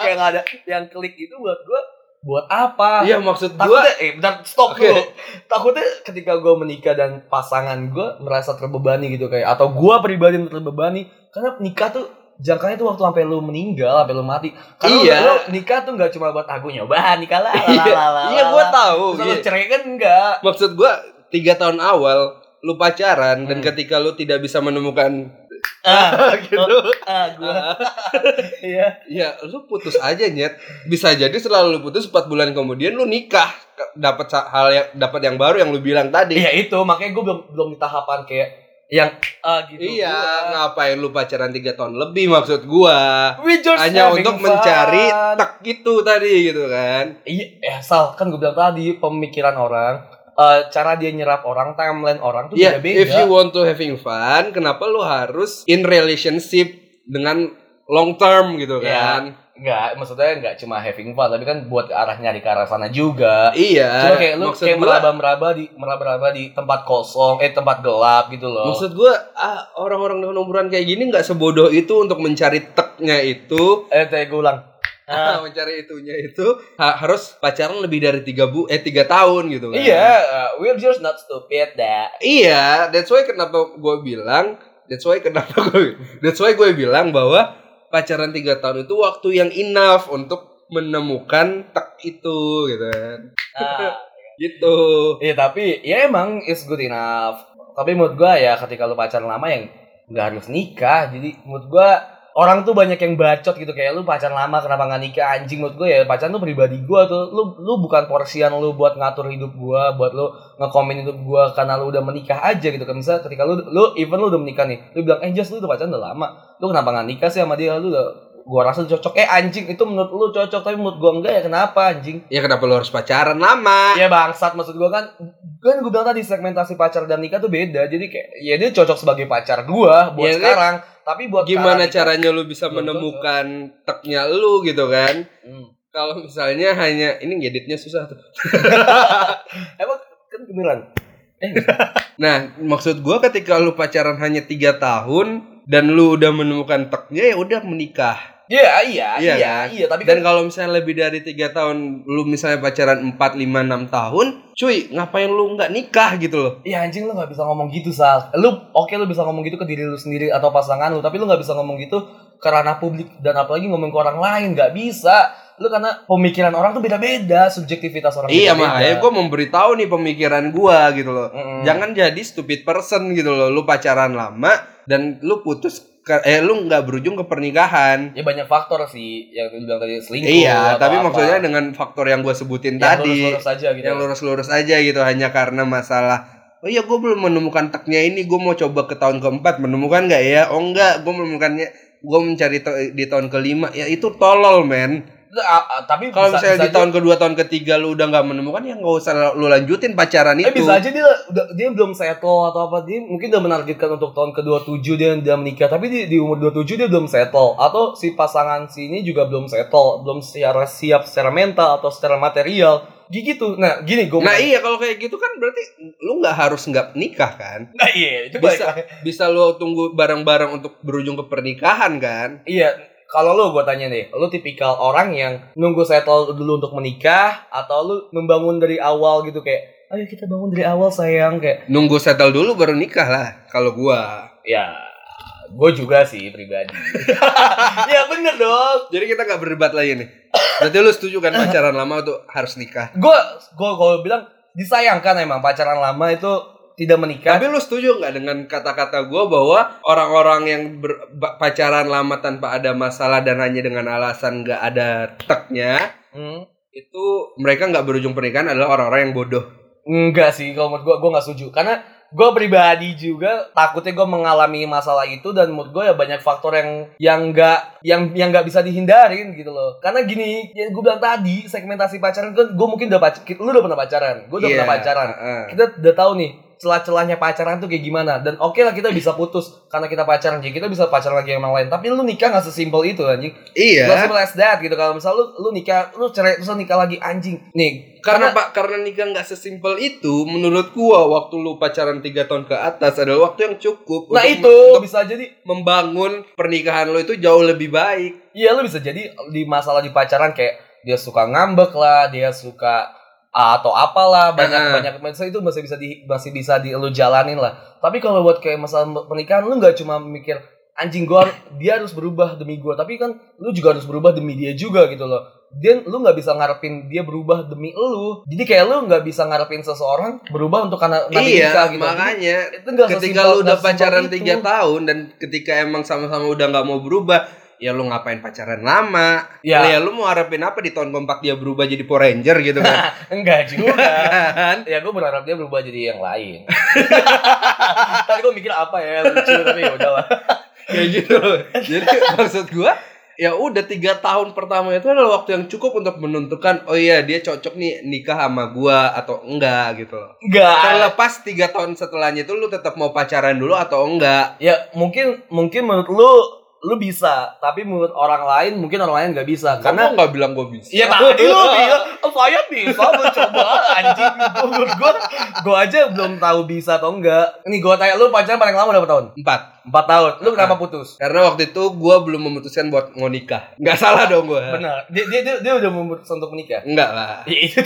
kayak gak ada yang klik itu buat gue buat apa
Iya maksud gue
takutnya eh bentar stop
Oke.
dulu takutnya ketika gue menikah dan pasangan gue merasa terbebani gitu kayak atau gue pribadi yang terbebani karena nikah tuh jangkanya tuh waktu sampai lu meninggal sampai lu mati karena
Iya.
lu, lu nikah tuh nggak cuma buat aku nyoba ah, nikah lah
Iya, iya gue tahu.
kalau
iya.
cerai kan enggak
Maksud gue tiga tahun awal lu pacaran dan
Hmm.
ketika lu tidak bisa menemukan
[laughs] ah,
gitu,
ah [laughs] gue iya
ya lu putus aja nyet. Bisa jadi selalu lu putus 4 bulan kemudian lu nikah dapat sa- hal yang dapat yang baru yang lu bilang tadi.
iya itu makanya gue belum belum di tahapan kayak yang ah gitu
Iya,
gua.
ngapain lu pacaran tiga tahun lebih maksud gua.
We just
Hanya
having
untuk
fun.
mencari tek itu tadi gitu kan.
Iya, eh, Sal, kan gue bilang tadi pemikiran orang, eh, cara dia nyerap orang, timeline orang tuh
Iya,
beda-beda.
if you want to having fun, kenapa lu harus in relationship dengan long term gitu
Iya.
kan?
Nggak, maksudnya nggak cuma having fun, tapi kan buat ke arah nyari ke arah sana juga.
Iya.
Cuma kayak lu
maksud
kayak
gua,
meraba-meraba di meraba-meraba di tempat kosong, eh tempat gelap gitu loh.
maksud gua ah, orang-orang dengan umuran kayak gini nggak sebodoh itu untuk mencari teknya itu,
eh, tadi gue ulang.
[laughs]
Ah,
mencari itunya itu ha- harus pacaran lebih dari tiga bu eh tiga tahun gitu kan.
iya, eh, we're just not stupid that.
Iya, that's why kenapa gue bilang, that's why kenapa [laughs] gue, that's why gue bilang bahwa pacaran tiga tahun itu waktu yang enough untuk menemukan tek itu gitu kan.
Ah.
Gitu.
Iya tapi ya emang it's good enough. Tapi menurut gua ya ketika lu pacaran lama yang nggak harus nikah. Jadi menurut gua orang tuh banyak yang bacot gitu kayak lu pacaran lama kenapa nggak nikah anjing menurut gua ya pacaran tuh pribadi gua tuh lu lu bukan porsian lu buat ngatur hidup gua buat lu ngekomen hidup gua karena lu udah menikah aja gitu kan misalnya ketika lu lu even lu udah menikah nih lu bilang eh Jas lu udah pacaran udah lama lu kenapa nggak nikah sih sama dia lu udah gua rasa cocok eh anjing itu menurut lu cocok tapi menurut gua enggak ya kenapa anjing
Ya kenapa lo harus pacaran lama?
Ya bangsat maksud gua kan kan gue bilang tadi segmentasi pacar dan nikah tuh beda jadi kayak ya dia cocok sebagai pacar gua buat
Ya, kan?
sekarang tapi buat gitu.
Gimana
cara
caranya lo bisa
Belum
menemukan teknya lu gitu kan?
Hmm. [laughs]
Kalau misalnya hanya ini ngeditnya susah tuh.
emang kan Eh, beneran
Nah, maksud gua ketika lu pacaran hanya tiga tahun dan lu udah menemukan teknya ya udah menikah.
Iya iya
Iya,
iya iya,
kan?
tapi
Dan
kan
kalau misalnya lebih dari tiga tahun, lu misalnya pacaran 4, 5, 6 tahun, cuy, ngapain lu nggak nikah gitu loh?
ya anjing lu nggak bisa ngomong gitu sal lu oke lu bisa ngomong gitu ke diri lu sendiri atau pasangan lu tapi lu nggak bisa ngomong gitu ke ranah publik dan apalagi ngomong ke orang lain nggak bisa lu karena pemikiran orang tuh beda-beda subjektivitas orang
Iya,
beda-beda.
makanya gue memberitahu nih pemikiran gua gitu loh.
Mm-mm.
Jangan jadi stupid person gitu loh. Lu pacaran lama dan lu putus, ke- eh lu nggak berujung ke pernikahan.
ya banyak faktor sih yang lu bilang tadi selingkuh
Iya,
atau
tapi
apa.
maksudnya dengan faktor yang gue sebutin
yang
tadi,
lurus-lurus aja gitu
yang lurus-lurus aja gitu, hanya karena masalah oh iya gue belum menemukan teknya ini gue mau coba ke tahun keempat menemukan nggak ya oh enggak gue menemukannya gue mencari to- di tahun kelima ya itu tolol men
Ah, ah, tapi
kalau
bisa- bisa
misalnya di
aja-
tahun kedua tahun ketiga lu udah nggak menemukan ya nggak usah lu lanjutin pacaran itu
Eh bisa aja dia udah- dia belum settle atau apa dia mungkin udah menargetkan untuk tahun ke-27 dia dia menikah tapi di, di umur 27 dia belum settle atau si pasangan sini juga belum settle, belum secara siap secara mental atau secara material. Gitu. Nah, gini gue
nah iya kalau kayak gitu kan berarti lu nggak harus nggak nikah kan
iya, itu
bisa
balik lagi.
bisa lu tunggu bareng-bareng untuk berujung ke pernikahan kan
Iya, kalau lu gue tanya nih, lu tipikal orang yang nunggu settle dulu untuk menikah atau lu membangun dari awal gitu kayak ayo kita bangun dari awal sayang kayak
nunggu settle dulu baru nikah lah kalau gua
ya gue juga sih pribadi. ya bener dong.
jadi kita nggak berdebat lagi nih berarti lu setuju kan pacaran lama tuh harus nikah
gue gue bilang disayangkan emang pacaran lama itu tidak menikah
tapi lu setuju nggak dengan kata-kata gua bahwa orang-orang yang ber- ba- pacaran lama tanpa ada masalah dan hanya dengan alasan nggak ada teknya
Hmm.
itu mereka nggak berujung pernikahan adalah orang-orang yang bodoh
enggak sih kalau menurut gue gue nggak setuju karena gue pribadi juga takutnya gue mengalami masalah itu dan menurut gue ya banyak faktor yang yang nggak yang yang nggak bisa dihindarin gitu loh karena gini yang gue bilang tadi segmentasi pacaran kan gue mungkin udah pacar lu udah pernah pacaran gue udah
Iya,
pernah pacaran
heeh.
kita udah tahu nih celah-celahnya pacaran tuh kayak gimana dan oke lah kita bisa putus karena kita pacaran jadi kita bisa pacaran lagi yang lain tapi lu nikah nggak sesimpel itu anjing
iya
Gak simple as that gitu kalau misal lu lu nikah lu cerai terus lu nikah lagi anjing nih
karena pak karena nikah nggak sesimpel itu menurut gua waktu lu pacaran tiga tahun ke atas adalah waktu yang cukup
nah
untuk-
itu
untuk
bisa jadi
membangun pernikahan lo itu jauh lebih baik
iya lu bisa jadi di masalah di pacaran kayak dia suka ngambek lah dia suka ah, atau apalah banyak
Heeh.
banyak masa itu masih bisa di masih bisa di lu jalanin lah tapi kalau buat kayak masalah pernikahan lu nggak cuma mikir anjing gua har- dia harus berubah demi gua tapi kan lu juga harus berubah demi dia juga gitu loh dan lu nggak bisa ngarepin dia berubah demi lu jadi kayak lu nggak bisa ngarepin seseorang berubah untuk karena karena
iya
nikah gitu. Jadi-
makanya
itu nggak
ketika lo
sesimpel-
udah
nggak sesimpel
pacaran
itu.
tiga tahun dan ketika emang sama-sama udah nggak mau berubah ya lo ngapain pacaran lama
Ya.
Lah ya lo mau harapin apa di tahun keempat dia berubah jadi Power Ranger gitu
[laughs]
kan
enggak juga
Kan?
ya gue berharap dia berubah jadi yang [laughs] lain tadi gue mikir apa ya lucu tapi ya udahlah
ya gitu jadi [laughs] maksud gua ya udah tiga tahun pertama itu adalah waktu yang cukup untuk menentukan oh iya dia cocok nih nikah sama gua atau enggak gitu loh
enggak
terlepas tiga tahun setelahnya itu lu tetap mau pacaran dulu atau enggak
ya mungkin mungkin menurut lu lu bisa tapi menurut orang lain mungkin orang lain nggak bisa
karena
karena
nggak bilang gua bisa [laughs]
Iya tadi lu bilang "Oh, saya bisa mencoba anjing menurut gue gue aja belum tahu bisa atau enggak nih gue tanya lu pacaran paling lama berapa tahun
empat
empat tahun Ah. lu kenapa putus
Karena waktu itu gue belum memutuskan buat mau nikah. Nggak salah dong gue.
benar dia dia dia, dia udah memutuskan untuk menikah
Enggak lah.
Ya, itu.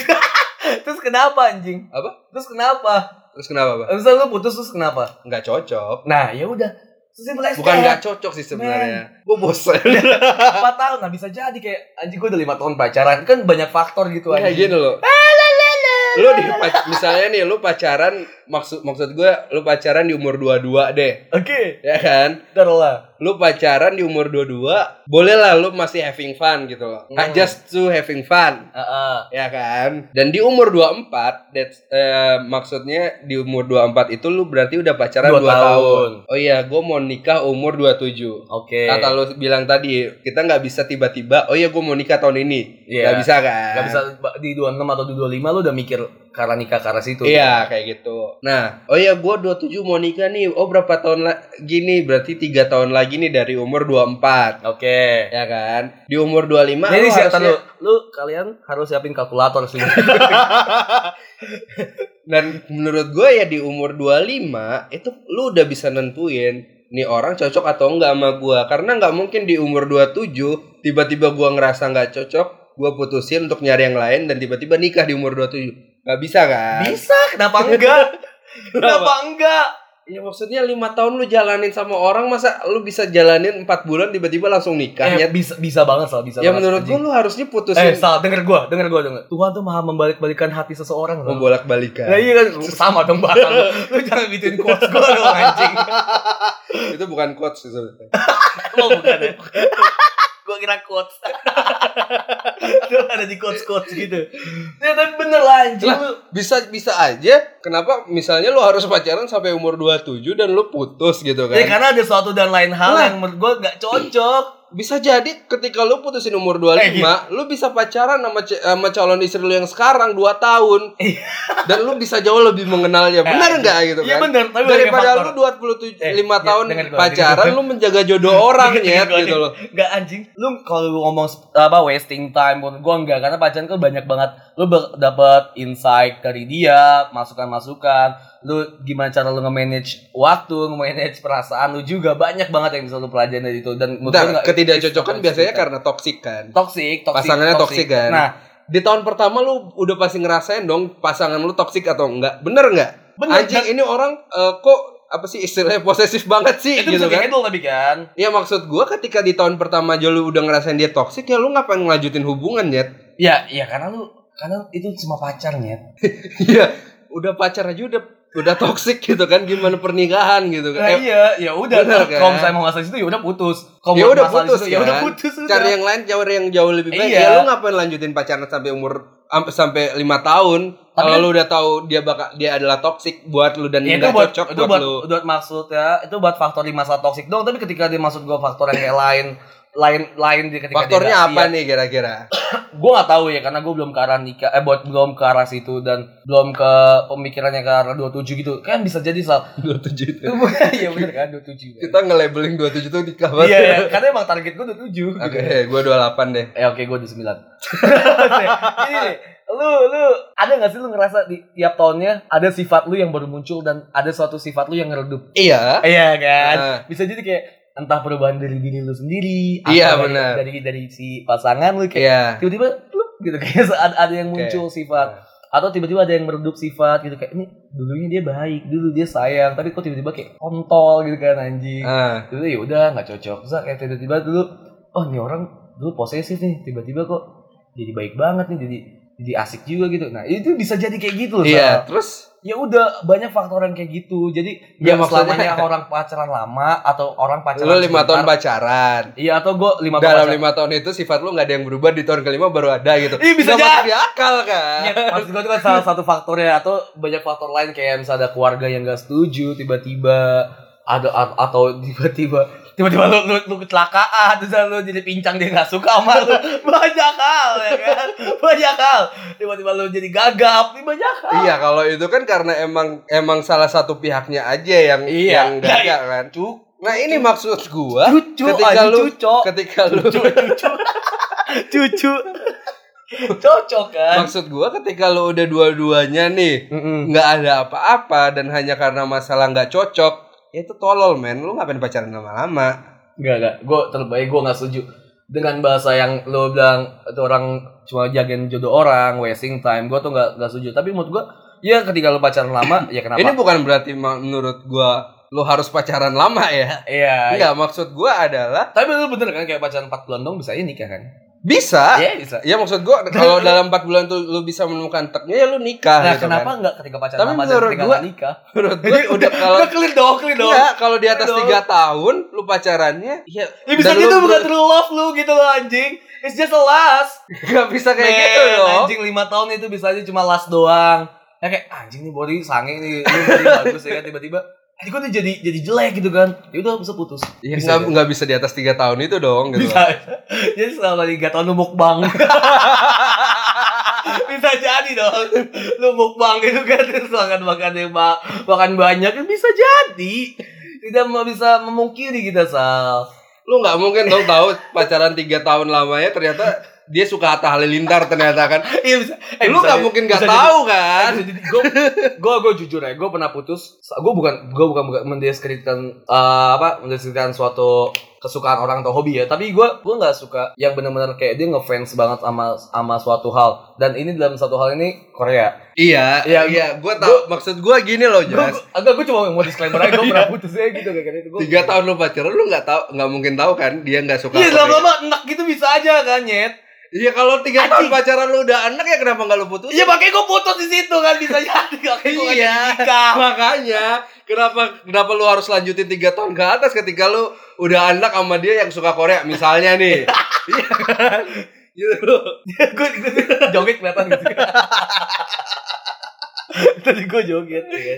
[laughs] terus kenapa anjing
Apa?
terus kenapa
Terus kenapa, Pak?
terus lu putus terus kenapa
Nggak cocok.
nah ya udah sesimpel as
Bukan nggak
that.
cocok sih sebenarnya. Gue bosen.
"Eh, [laughs] empat tahun nah bisa jadi kayak anjing gue udah lima tahun pacaran kan banyak faktor
[laughs]
gitu
Kayak
anjing
gini loh. Iya, Lu di pac- misalnya nih lu pacaran maksud maksud gue lu pacaran di umur 22 deh.
oke
Ya kan?
taruhlah
Lu pacaran di umur 22, boleh lah lu masih having fun gitu loh. Nah,
Hmm.
Just to having fun.
Heeh.
Ya kan? Dan di umur 24, that's, eh, maksudnya di umur 24 itu lu berarti udah pacaran 2
Dua
tahun.
tahun.
Oh iya, gue mau nikah umur 27.
oke
Kata lu bilang tadi, kita nggak bisa tiba-tiba, oh iya gue mau nikah tahun ini.
Iya.
Nggak bisa kan?
Gak bisa ba- di 26 atau di 25 lu udah mikir karena nikah karena situ.
Iya, kayak gitu. Nah, oh iya gue 27 mau nikah nih. Oh berapa tahun lagi nih? Berarti tiga tahun lagi nih dari umur 24.
Oke.
Ya kan? Di umur 25
Jadi
lu
siapa
harusnya-
lu? Lu kalian harus siapin kalkulator sih.
Dan menurut gue ya di umur 25 itu lu udah bisa nentuin nih orang cocok atau enggak sama gue karena nggak mungkin di umur 27 tiba-tiba gue ngerasa nggak cocok gue putusin untuk nyari yang lain dan tiba-tiba nikah di umur 27 nggak bisa kan?
[laughs]
[laughs]
Bisa, kenapa enggak? kenapa enggak?
Ya maksudnya lima tahun lu jalanin sama orang masa lu bisa jalanin empat bulan tiba-tiba langsung
Eh,
nikahnya?
bisa bisa banget Sal, bisa
ya
banget,
menurut gue lu
anjing.
harusnya
Eh,
putusin
Sal, denger gua, denger gua, denger. Tuhan tuh maha membalik-balikan hati seseorang. Sal.
membolak-balikan.
Nah, iya kan sama dong bahasa lu. Lu jangan bikin quotes gua dong anjing.
Itu bukan quotes sih sebenarnya.
Lo bukan ya. [laughs] gua gue kira [laughs] quotes. ada di quotes quotes gitu.
Ya tapi bener lah anjing.
Iya.
Lah. bisa bisa aja kenapa misalnya lu harus pacaran sampai umur 27 dan lu putus gitu
Ya
kan
karena ada suatu dan lain hal
Lah.
yang menurut gue gak cocok.
bisa jadi ketika lu putusin umur 25
Eh, iya.
lu bisa pacaran sama, ce- sama calon istri lu yang sekarang 2 tahun dan lu bisa jauh lebih mengenalnya benar nggak gitu
Iya
kan
bener, tapi
daripada lu 27
Eh,
5
ya,
tahun
dengerin gua,
pacaran
dengerin
lu menjaga jodoh orang ya
[laughs] Dengerin gua,
gitu loh
Gak anjing. Lu kalau lu ngomong sp- apa wasting time pun gua enggak karena pacaran kan banyak banget lu ber- dapat insight dari dia, masukan-masukan, lu gimana cara lu nge-manage waktu, nge-manage perasaan lu juga banyak banget yang bisa lu pelajari dari itu dan menurut gua
Bentar,
nggak-
ketidakcocokan
it's-
biasanya
it's-
karena toksik kan
toxic, toxic,
Pasangannya toxic, kan?
Nah,
di tahun pertama lu udah pasti ngerasain dong pasangan lu toksik atau enggak bener nggak
Bener,
anjing ini orang eh, kok apa sih istilahnya posesif banget sih
itu
gitu
bisa
kan
di-handle tapi kan.
ya maksud gua ketika di tahun pertama aja lu udah ngerasain dia toksik ya lu ngapain ngelanjutin hubungan ya [laughs]
Ya, ya karena lu karena itu cuma pacarnya.
iya udah pacar aja udah udah toksik gitu kan gimana pernikahan gitu kan
Nah,
Eh,
iya, ya udah.
bener kan?
Kalau misalnya mau masalah itu ya udah putus. Kalau
Ya
mau
udah
masalah
putus,
situ, ya udah
kan?
putus. udah.
cari yang lain cari yang jauh lebih baik
Iya.
ya lu ngapain lanjutin pacaran sampai umur am- sampai lima tahun
Tapi
kalau
kan-
lu udah tahu dia bakal dia adalah toksik buat lu dan
Ya, itu
nggak
buat,
cocok
itu
buat,
buat,
lu
buat maksud ya itu buat faktor di masalah toksik dong tapi ketika dia maksud gue faktor yang kayak lain lain lain di ketika
faktornya
dia
apa nih
[laughs]
kira-kira
gue nggak tahu ya karena gue belum ke arah nikah eh buat belum ke arah situ dan belum ke pemikirannya ke arah 27 gitu kan bisa jadi
[laughs]
sal
27 itu.
iya bener kan 27 ya.
Kita nge-labeling 27 itu nikah banget.
iya ya karena emang target gue 27 gitu.
[laughs] Oke, gue 28 deh.
Eh oke gue di 9 [laughs] Ini nih, Lu lu ada gak sih lu ngerasa di tiap tahunnya Ada sifat lu yang baru muncul Dan ada suatu sifat lu yang ngeredup
Iya.
Iya kan.
Heeh.
Bisa jadi kayak entah perubahan dari diri lu sendiri,
Iya,
atau dari-
benar.
dari dari si pasangan lu
Iya.
kayak tiba-tiba plup gitu [laughs] kayak se- ada, ada yang muncul sifat atau tiba-tiba ada yang meredup sifat gitu kayak ini dulunya dia baik, dulu dia sayang, tapi kok tiba-tiba kayak kontol gitu kan anjing.
Ah.
Dulu ya udah nggak cocok. Terus kayak tiba-tiba dulu oh ini orang dulu posesif nih, tiba-tiba kok jadi baik banget nih jadi jadi asik juga gitu. Nah, itu bisa jadi kayak gitu loh.
Iya,
Sal
terus
ya udah banyak faktor yang kayak gitu jadi
Ya,
nggak
maksudnya-
selamanya orang pacaran lama atau orang
lu
pacaran
5 tahun
sebentar.
pacaran.
iya atau gue lima
Dalam
pacaran.
5 tahun itu sifat lu nggak ada yang berubah di tahun kelima baru ada gitu.
Ih, bisa
Nggak
jadi.
masuk di akal kan.
Ya, maksud gue itu kan salah satu faktornya atau banyak faktor lain kayak misalnya ada keluarga yang gak setuju tiba-tiba ada a- atau tiba-tiba tiba-tiba lu, lu, lu kecelakaan terus lu jadi pincang dia nggak suka sama
[laughs]
lu banyak hal ya kan banyak hal tiba-tiba lu jadi gagap ini banyak hal
Iya, kalau itu kan karena emang emang salah satu pihaknya aja yang
Iya.
yang gagal kan. Nah, ini maksud gua
Lucu,
ketika
anjing,
lu
cucok.
ketika lu [laughs]
cucu cocok kan
maksud gua ketika lu udah dua-duanya nih,
Mm-mm.
nggak ada apa-apa dan hanya karena masalah nggak cocok ya itu tolol men lu ngapain pacaran lama-lama
Enggak, enggak. Gue terbaik, gue gak eh, setuju. Dengan bahasa yang lo bilang, itu orang cuma jagain jodoh orang, wasting time. Gue tuh gak, nggak setuju. Tapi menurut gue, ya ketika lo pacaran lama, ya kenapa?
ini bukan berarti ma- menurut gua lu harus pacaran lama ya
Iya. iya.
Enggak, maksud gua adalah
Tapi lo bener kan, kayak pacaran 4 bulan dong bisa ya nikah kan?
bisa
Iya, bisa.
ya maksud
[laughs]
gua kalau dalam 4 bulan tuh lu bisa menemukan teknya ya lu nikah
Nah,
gitu
kenapa
kan
enggak ketika pacaran
Tapi
lama dan
menurut
ketika
gua-
gak
[laughs]
nikah?
menurut
[laughs]
gua udah kalau Iya.
Udah clear dong, clear dong.
Enggak, kalau di atas
Dong.
tiga tahun lu pacarannya ya,
Ya bisa
dan
gitu,
lu-
bukan true love lu gitu loh anjing. It's just a last.
[laughs] Nggak bisa kayak
Men,
gitu loh
Anjing 5 tahun itu bisa aja cuma last doang. Ya kayak anjing nih body sange nih, ini
[laughs]
body bagus ya kan tiba-tiba anjing kok dia jadi jadi jelek gitu kan. Ya udah bisa putus.
Ya,
bisa.
nggak nggak bisa di atas tiga tahun itu dong gitu
Bisa. jadi selama 3 tahun lu mukbang. [laughs] bisa jadi dong. Lu mukbang gitu kan terus makan makan yang ba- makan banyak kan bisa jadi. Tidak mau bisa memungkiri kita Sal.
[laughs] lu nggak mungkin dong tahu pacaran tiga tahun lamanya ternyata dia suka Atta Halilintar ternyata kan
Iya bisa. [laughs] Eh,
lu
bisa
nggak
jadi-
mungkin nggak
bisa jadi-
tahu
[laughs]
kan
gue gue jujur ya gue pernah putus gue bukan gue bukan, bukan mendeskripsikan eh, apa mendeskripsikan suatu kesukaan orang atau hobi ya tapi gue gue nggak suka yang benar-benar kayak dia ngefans banget sama sama suatu hal dan ini dalam satu hal ini Korea
iya
Iya,
iya gue tahu maksud gue gini loh jelas
agak gue cuma mau disclaimer aja
[laughs]
gue pernah putus aja gitu kayak gitu Gua-
Iya. tiga tahun lu pacaran lu nggak tahu nggak mungkin tahu kan dia nggak suka
Iya
Korea.
lama-lama enak gitu bisa aja kan nyet
iya kalau tiga tahun
Anjing.
pacaran lu udah anak ya kenapa nggak lu putus
[laughs] Iya makanya gue putus di situ kan bisa jadi makanya gue
Iya.
nikah
makanya kenapa kenapa lu harus lanjutin tiga tahun ke atas ketika lu udah anak sama dia yang suka Korea misalnya nih. Iya kan? Gitu loh.
gue joget kelihatan gitu [laughs] tadi gue joget ya.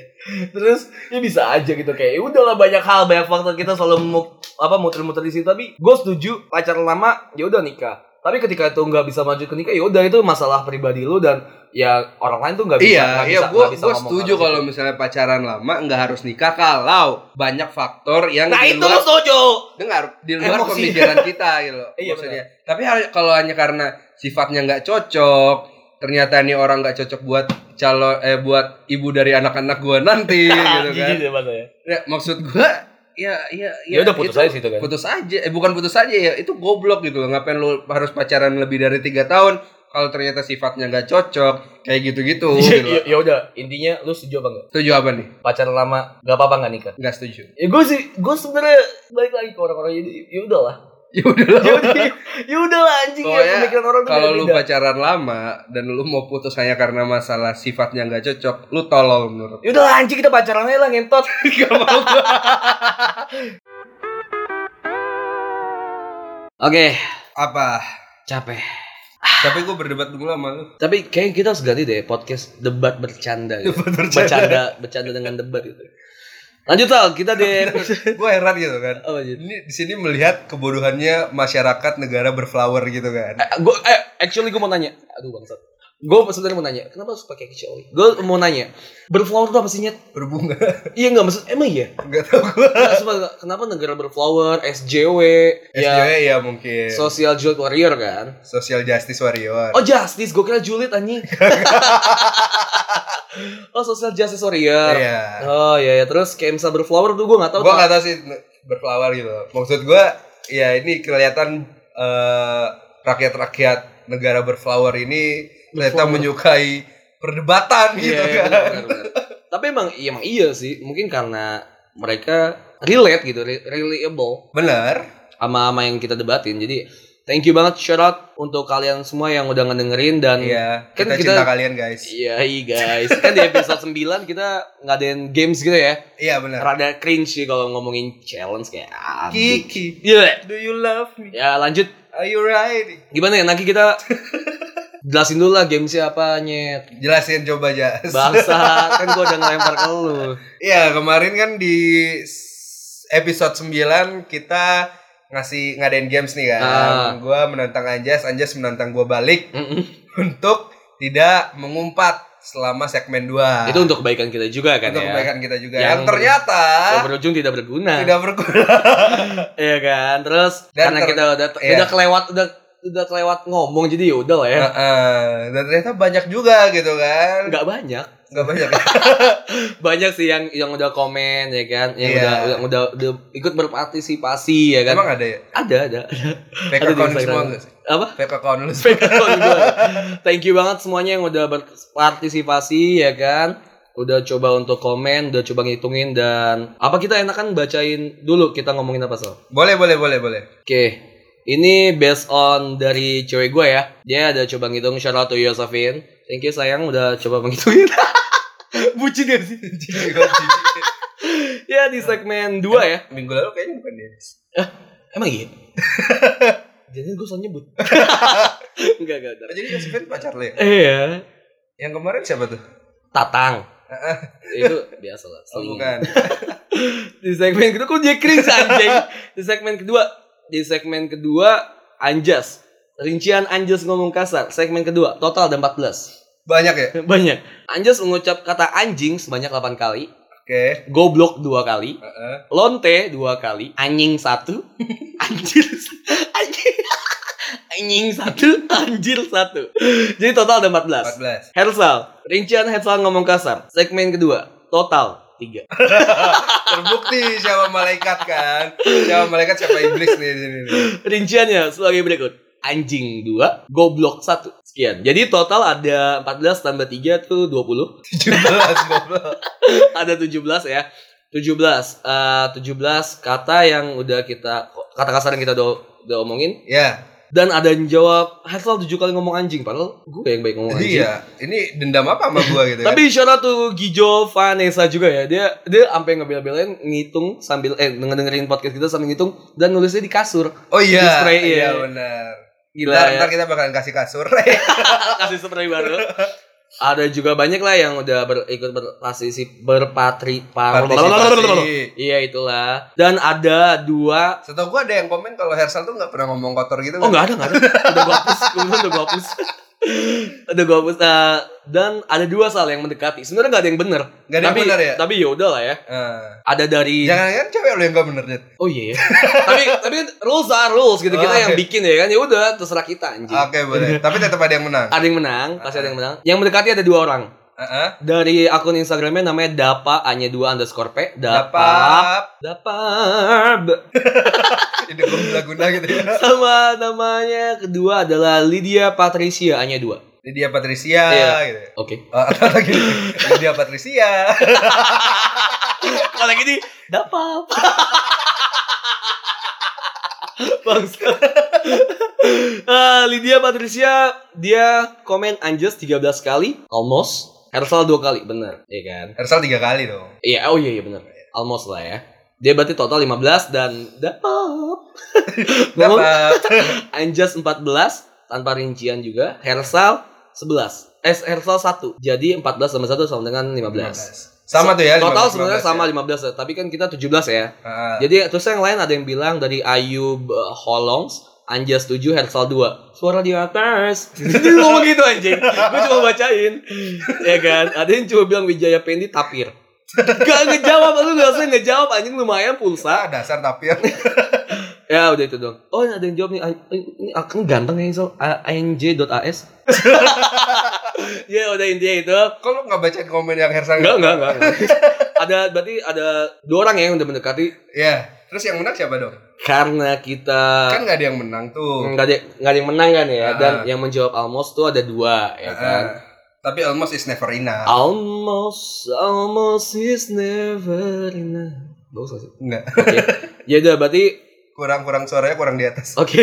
terus ya bisa aja gitu kayak ya udahlah banyak hal banyak faktor kita selalu mau apa muter-muter di situ tapi gue setuju pacar lama ya udah nikah tapi ketika itu nggak bisa maju ke nikah ya udah itu masalah pribadi lu dan ya orang lain tuh [laughs] nggak bisa
iya,
nggak
iya
bisa-
gua
nggak bisa
gua
ngomong gitu.
setuju
harus
kalau misalnya pacaran lama nggak harus nikah kalau banyak faktor yang
nah
di
itu
luar-
lu setuju
dengar di luar
Emosi.
pemikiran kita gitu loh
[laughs] Iya,
maksudnya tapi hal- kalau hanya karena sifatnya nggak cocok ternyata nih orang nggak cocok buat calon eh buat ibu dari anak-anak gua
[laughs]
nanti gitu
Jijik
kan
deh bahasanya.
ya, maksud gua ya ya
ya udah putus
itu-
aja situ kan [laughs]
putus aja eh bukan putus aja ya itu goblok gitu loh ngapain lu harus pacaran lebih dari tiga tahun kalau ternyata sifatnya nggak cocok kayak
[laughs]
gitu-gitu
Ya-
gitu
ya
loh.
ya udah intinya lu setuju apa enggak
setuju apa nih
pacaran lama nggak apa-apa nggak nikah
nggak setuju [laughs]
ya gue sih gue sebenarnya balik lagi ke orang-orang ini ya udahlah [laughs]
ya udah lah.
ya udah ya udahlah anjing
Pokoknya,
ya pemikiran orang tuh
kalau lu
beda-beda.
pacaran lama dan lu mau putus hanya karena masalah sifatnya nggak cocok, lu tolol menurut.
[laughs] ya udahlah anjing kita pacaran aja lah ngentot
Gak mau.
oke
Apa?
capek
Tapi gue berdebat dulu sama lu.
tapi kayaknya kita harus ganti deh podcast debat bercanda gitu.
Debat bercanda.
bercanda bercanda dengan debat gitu lanjut Al, kita deh
gue heran gitu kan.
apa aja
Ini di sini melihat kebodohannya masyarakat negara berflower gitu kan.
gue eh, actually gue mau nanya aduh bangsat gue sebenarnya mau nanya kenapa harus pakai actually gue mau nanya berflower tuh apa sih nyet
Berbunga.
iya nggak maksud emang iya
Gak tau gue.
Nggak, sumpah, nggak. kenapa negara berflower SJW ya
SJW ya mungkin.
social justice warrior kan
Social Justice Warrior.
Oh justice, gue kira julid
[laughs]
anjing. oh social justice warrior.
Iya.
Oh iya, iya. terus kayak misal berflower tuh gue gak tau.
Gue gak tau sih berflower gitu. Maksud gue, ya ini kelihatan eh, rakyat-rakyat negara berflower ini ternyata
Berflower.
menyukai perdebatan gitu
Iya, iya,
kan.
benar, benar, benar. Tapi emang, iya, emang iya sih. Mungkin karena mereka relate gitu, re- relatable
Bener.
sama sama yang kita debatin. Jadi thank you banget shout out untuk kalian semua yang udah ngedengerin dan
Iya.
Kan
Kita,
kita-
cinta kalian guys.
Iya iya, guys, kan di episode 9 kita ngadain games gitu ya.
Iya bener.
Rada cringe sih kalau ngomongin challenge kayak ah,
Kiki,
Iya.
do you love me?
Ya lanjut
Are you ready?
gimana ya nanti
[laughs]
kita jelasin dulu lah gamesnya apa nyet
Jelasin coba aja.
bangsa kan gua udah ngelempar ke lu
Iya kemarin kan di s- episode 9 kita ngasih ngadain games nih kan.
Ah.
Gua menantang Anjas, Anjas menantang gua balik [laughs]
Mm-mm.
untuk tidak mengumpat selama segmen 2.
Nah, itu untuk kebaikan kita juga kan
Untuk
ya
kebaikan kita juga.
Yang-
Yang, ternyata
Yang berujung tidak berguna
tidak berguna.
iya kan terus
Dan
karena
ter-
kita udah
iya. Nah.
udah kelewat udah udah kelewat ngomong jadi ya udah lah ya
Heeh. Dan ternyata banyak juga gitu kan.
nggak banyak
Nggak banyak. ya.
banyak sih yang yang udah komen ya kan yang
Iya.
udah, udah udah udah ikut berpartisipasi ya kan
Emang ada ya?
ada ada
Fake
Ada di
account
Instagram.
semua nggak sih?
apa
Fake account lu.
Fake account gua. ya. Thank you banget semuanya yang udah berpartisipasi ya kan. Udah coba untuk komen, udah coba ngitungin dan apa kita enakan bacain dulu kita ngomongin apa so. Oke,
Boleh, boleh, boleh, boleh.
ini based on dari cewek gue ya. Dia ada coba ngitung shout out to Yosafin. Thank you sayang udah coba menghitungin. Bucin gak
[laughs]
sih? [laughs] ya di segmen 2 ya.
Minggu lalu kayaknya bukan dia.
Emang iya? [laughs] Jadi gue soalnya [laughs] nyebut. Enggak, enggak, enggak.
Jadi Yosefin pacar lu ya?
Eh ya.
Yang kemarin siapa tuh?
Tatang. itu biasa lah.
Oh,
selingan.
bukan.
Di segmen kedua kok dia cringe anjing. Di segmen kedua, di segmen kedua Anjas. Rincian Anjas ngomong kasar. Segmen kedua, total ada 14.
Banyak ya?
Banyak. Anjas mengucap kata anjing sebanyak 8 kali,
Oke.
goblok 2 kali,
Heeh.
lonte 2 kali, anjing 1, [laughs] anjir anjing [laughs] anjing 1, anjir 1. Jadi total ada 14.
14.
Hersal, rincian Hersal ngomong kasar. Segmen kedua, total 3.
Terbukti siapa malaikat kan? Siapa malaikat siapa iblis nih di sini. nih.
Rinciannya sebagai berikut. Anjing 2, goblok 1. Sekian. Jadi total ada 14 tambah 3 tuh 20.
17 goblok.
[laughs] ada 17 ya. 17. eh 17 kata yang udah kita kata kasar yang kita udah, udah omongin.
Ya,
dan ada yang jawab Hansel tujuh kali ngomong anjing padahal gue yang baik ngomong anjing.
Iya, ini dendam apa sama gua gitu kan?
Tapi shout out to Gijo Vanessa juga ya. Dia dia sampai ngebel-belain ngitung sambil eh dengerin podcast kita sambil ngitung dan nulisnya di kasur.
Oh iya,
Spray, iya.
iya benar.
Gila
Ntar,
ya.
ntar kita bakalan kasih kasur. Eh,
kasih spray baru. Ada juga banyak lah yang udah ber- ikut berpartisipasi berpatri par-
Partisipasi.
Iya itulah. Dan ada dua
Setahu gua ada yang komen kalau Hersal tuh nggak pernah ngomong kotor gitu.
Oh
kan?
nggak ada nggak ada. Udah gue hapus. Kebetulan udah gue hapus. udah gue hapus. Nah, dan ada dua salah yang mendekati. Sebenarnya nggak ada yang benar.
Nggak ada yang
tapi,
benar ya?
Tapi ya udahlah ya.
Eh,
Ada dari
Jangan kan cewek lu yang nggak bener Dit.
Oh iya. ya. tapi tapi kan rules are rules gitu kita
Oh, Ah.
yang
oke.
bikin ya kan. Ya udah terserah kita anjing.
Oke boleh. Tapi tetap ada yang menang.
Ada yang menang, pasti
Ah.
ada yang menang. Yang mendekati ada dua orang.
Heeh.
Dari akun Instagramnya namanya Dapa hanya dua underscore P. Dapa.
Dapap.
Dapa.
Ini gua guna gitu ya.
Sama namanya kedua adalah Lydia Patricia hanya dua.
Ini dia Patricia
Iya.
gitu. ya.
Oke.
Oh, atau lagi ini dia Patricia.
Kalau gini, dapap. Bangsa. [laughs] Ah, Lydia Patricia dia komen Anjas 13 kali, almost. Hersal 2 kali, bener, iya kan?
Hersal tiga kali dong.
Iya, oh iya iya bener. Almost lah ya. Dia berarti total 15 dan dapap. Ngomong
Dapap.
Anjas 14 tanpa rincian juga, Hersal 11. Eh, Hersal 1. Jadi 14 sama 1 sama dengan 15.
15. Sama tuh ya.
Total
15,
sebenarnya
15
sama
ya.
15 ya, tapi kan kita 17 ya.
Heeh.
Jadi terus yang lain ada yang bilang dari Ayub eh, Holongs, Anjas 7, Hersal 2. Suara di
[laughs]
atas. Jadi lu ngomong gitu anjing. Gue cuma bacain. ya kan? Ada yang cuma bilang Wijaya Pendi tapir. Gak ngejawab, lu gak usah ngejawab anjing
Ah,
lumayan pulsa.
dasar tapir.
Ya udah itu dong. Oh ada yang jawab nih, An- ini akan ganteng ya so, [laughs] anj.as. ya udah intinya itu.
Kok lu nggak bacain komen yang Hersal?
Enggak, enggak, enggak. enggak. [laughs] ada berarti ada dua orang ya yang udah mendekati
Ya. Terus yang menang siapa dong?
Nah. karena kita
Kan nggak ada yang menang tuh.
nggak ada nggak ada yang menang kan ya
Ah.
dan yang menjawab almost tuh ada dua ya kan Ah.
Heeh. Tapi almost is never enough.
almost almost is never enough bagus nggak sih
Nggak.
oke ya udah berarti
Kurang-kurang suaranya kurang di atas.
oke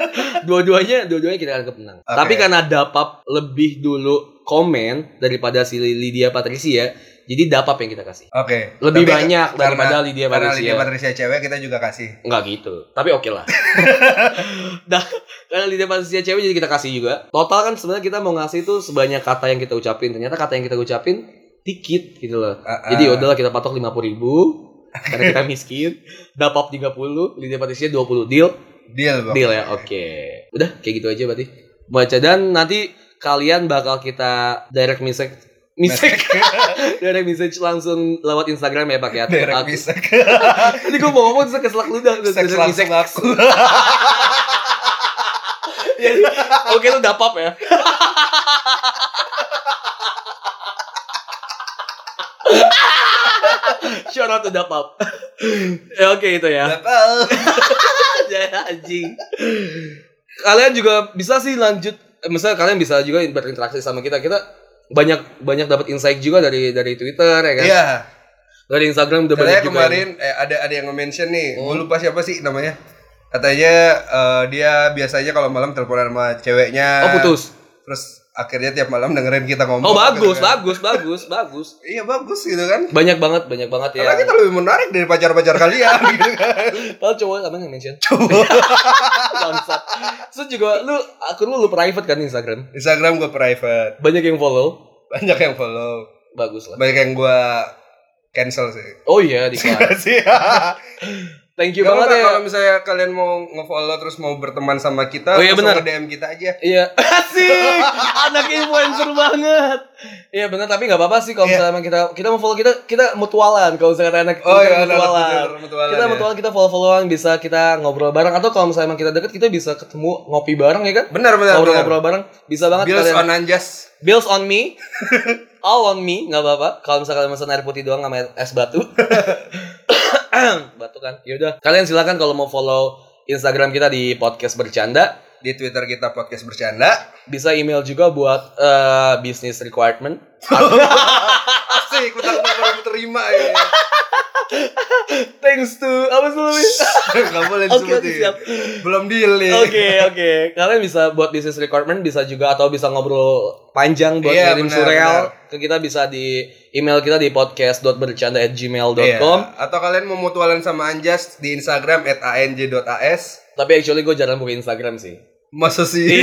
[laughs] dua-duanya dua-duanya kita anggap menang
Oke.
tapi karena dapap lebih dulu komen daripada si Lydia Patricia jadi dapap yang kita kasih
Oke.
lebih
Tapi
banyak
karena-
daripada Lydia
Karena
Patricia
Lydia Patricia cewek kita juga kasih.
Enggak gitu, tapi oke
[laughs]
lah. Dah, karena lidah manusia cewek jadi kita kasih juga. Total kan sebenarnya kita mau ngasih itu sebanyak kata yang kita ucapin. Ternyata kata yang kita ucapin dikit gitu loh.
Ah, ah.
Jadi udahlah kita patok 50 ribu karena kita
[laughs]
miskin. Dapap 30, lidah manusia 20 deal.
Deal, Bang.
Deal ya, oke. Udah kayak gitu aja berarti. Baca dan nanti kalian bakal kita direct message message direct message langsung lewat Instagram ya pakai akun-
Derek
akun-
bisa
Tadi gue mau ngomong terus keselak ludah terus
seks
direct message.
langsung aku.
Jadi, Iya, oke lu dapap ya. [laughs] Shout out to dapap. ya oke itu ya.
Dapal.
[laughs] Aja Ya, anjing. Kalian juga bisa sih lanjut eh, misalnya kalian bisa juga berinteraksi sama kita. Kita banyak banyak dapat insight juga dari dari Twitter ya kan.
Iya.
Dari Instagram udah
Katanya
banyak juga. Oh. yang-
kemarin eh, ada ada yang nge-mention nih. Gue lupa siapa sih namanya. Katanya eh, dia biasanya kalau malam teleponan sama ceweknya.
Oh putus.
Terus akhirnya tiap malam dengerin kita eh, ngomong.
Oh bagus,
Gitu kan.
bagus, bagus, bagus.
Iya bagus gitu kan.
Banyak banget, banyak banget ya.
Karena kita lebih menarik dari pacar-pacar kalian [laughs] gitu kan.
Padahal cowok apa yang mention? Cowok. [laughs] Bangsat. Terus juga lu akun lu, lu private kan Instagram.
Instagram gue private.
Banyak yang follow.
Banyak yang follow.
Bagus lah.
Banyak yang gue cancel sih. [laughs]
Oh iya, Dika.
Sih.
Thank you
Gak
Iya banget
apa-apa,
ya.
kalau misalnya kalian mau nge-follow terus mau berteman sama kita,
Oh iya,
langsung
benar.
nge-DM kita aja.
Iya. [laughs] Asik. Anak influencer banget. Iya benar tapi nggak apa-apa sih kalau
Iya.
misalnya kita kita mau follow kita kita mutualan kalau misalnya anak
Oh iya, anak-anak
mutualan.
mutualan, mutualan
Kita
ya.
mutualan kita follow-followan bisa kita ngobrol bareng atau kalau misalnya emang kita deket kita bisa ketemu ngopi bareng ya kan?
Benar, benar, benar.
Ngobrol-ngobrol bareng bisa banget
Iya, Bills
kalian.
on Anjas.
Bills on
[laughs]
me. All on me, nggak apa-apa. Kalau misalnya kalian pesan air putih doang sama
[laughs]
es batu. batu kan. Yaudah, kalian silakan kalau mau follow Instagram kita di podcast bercanda.
Di Twitter kita podcast bercanda.
Bisa email juga buat eh, business requirement.
[laughs] Asik, kita nggak pernah terima ya.
Thanks to apa sih namanya?
Gak boleh
Oke, oke,
disebutin.
siap.
Belum deal nih.
[laughs] Oke, oke. Kalian bisa buat this is recordment bisa juga atau bisa ngobrol panjang buat
Iya,
ngirim
benar,
surreal ke kita bisa di email kita di podcast.bercanda@gmail.com.
Iya. Atau kalian mau mutualan sama Anjas di Instagram @anj.as.
Tapi actually gue jarang buka Instagram sih.
Masa sih?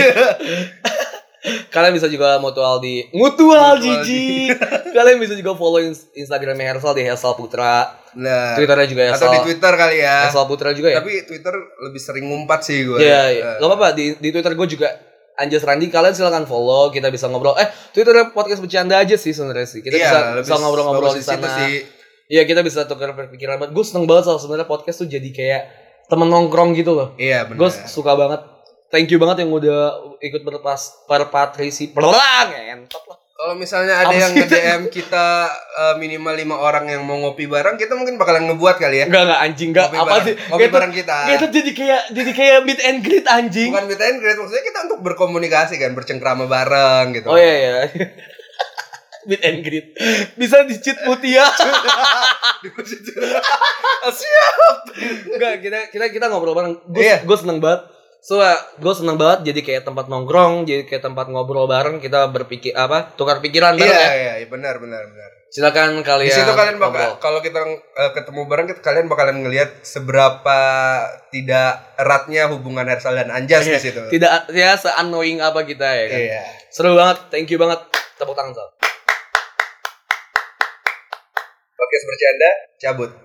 Kalian bisa juga mutual di mutual,
Mutual
Jiji.
[laughs]
Kalian bisa juga follow ins- Instagramnya Hersal di Hersal
[laughs]
Putra.
Nah,
Twitternya juga
atau
Hersal.
di Twitter kali ya.
Hersal Putra juga ya.
Tapi Twitter lebih sering ngumpat sih gue.
Iya, iya.
Eh,
Gak apa-apa di, di Twitter gue juga Anjas Randi kalian silakan follow kita bisa ngobrol eh Twitter podcast bercanda aja sih sebenarnya sih kita
iya,
bisa
lebih
bisa ngobrol-ngobrol
bagus
di sana
situ sih.
iya kita bisa tukar pikiran banget gue seneng banget soal sebenarnya podcast tuh jadi kayak temen nongkrong gitu loh
Iya, benar.
gue suka banget thank you banget yang udah ikut berpas berpartisipasi pelang entot lah
Kalau misalnya ada
Apa
yang
sih?
nge-DM kita eh, minimal lima orang yang mau ngopi bareng, kita mungkin bakalan ngebuat kali ya.
enggak enggak anjing enggak
Ngopi
apa
bareng,
sih
ngopi
Kayak tuh-
bareng kita.
kayak tuh jadi kayak jadi kayak meet and greet anjing
Bukan kita yang great, maksudnya kita untuk berkomunikasi kan, bercengkrama bareng gitu. [laughs]
oh iya [laughs] iya meet and greet bisa dicit mutia
[laughs]
Enggak, kita kita kita ngobrol bareng. Gue
Iya.
gue seneng banget. So, gue seneng banget jadi kayak tempat nongkrong, jadi kayak tempat ngobrol bareng, kita berpikir apa? Tukar pikiran
Iya,
bareng ya.
iya, iya, benar, benar, benar.
Silakan
Di
kalian.
situ kalian bakal
ngobrol.
kalau kita eh, ketemu bareng kita- kalian bakalan ngelihat seberapa tidak eratnya hubungan Hersal dan Anjas di situ.
tidak ya se annoying apa kita ya kan.
Iya.
Seru banget. Thank you banget. Tepuk tangan Sal.
Podcast bercanda cabut.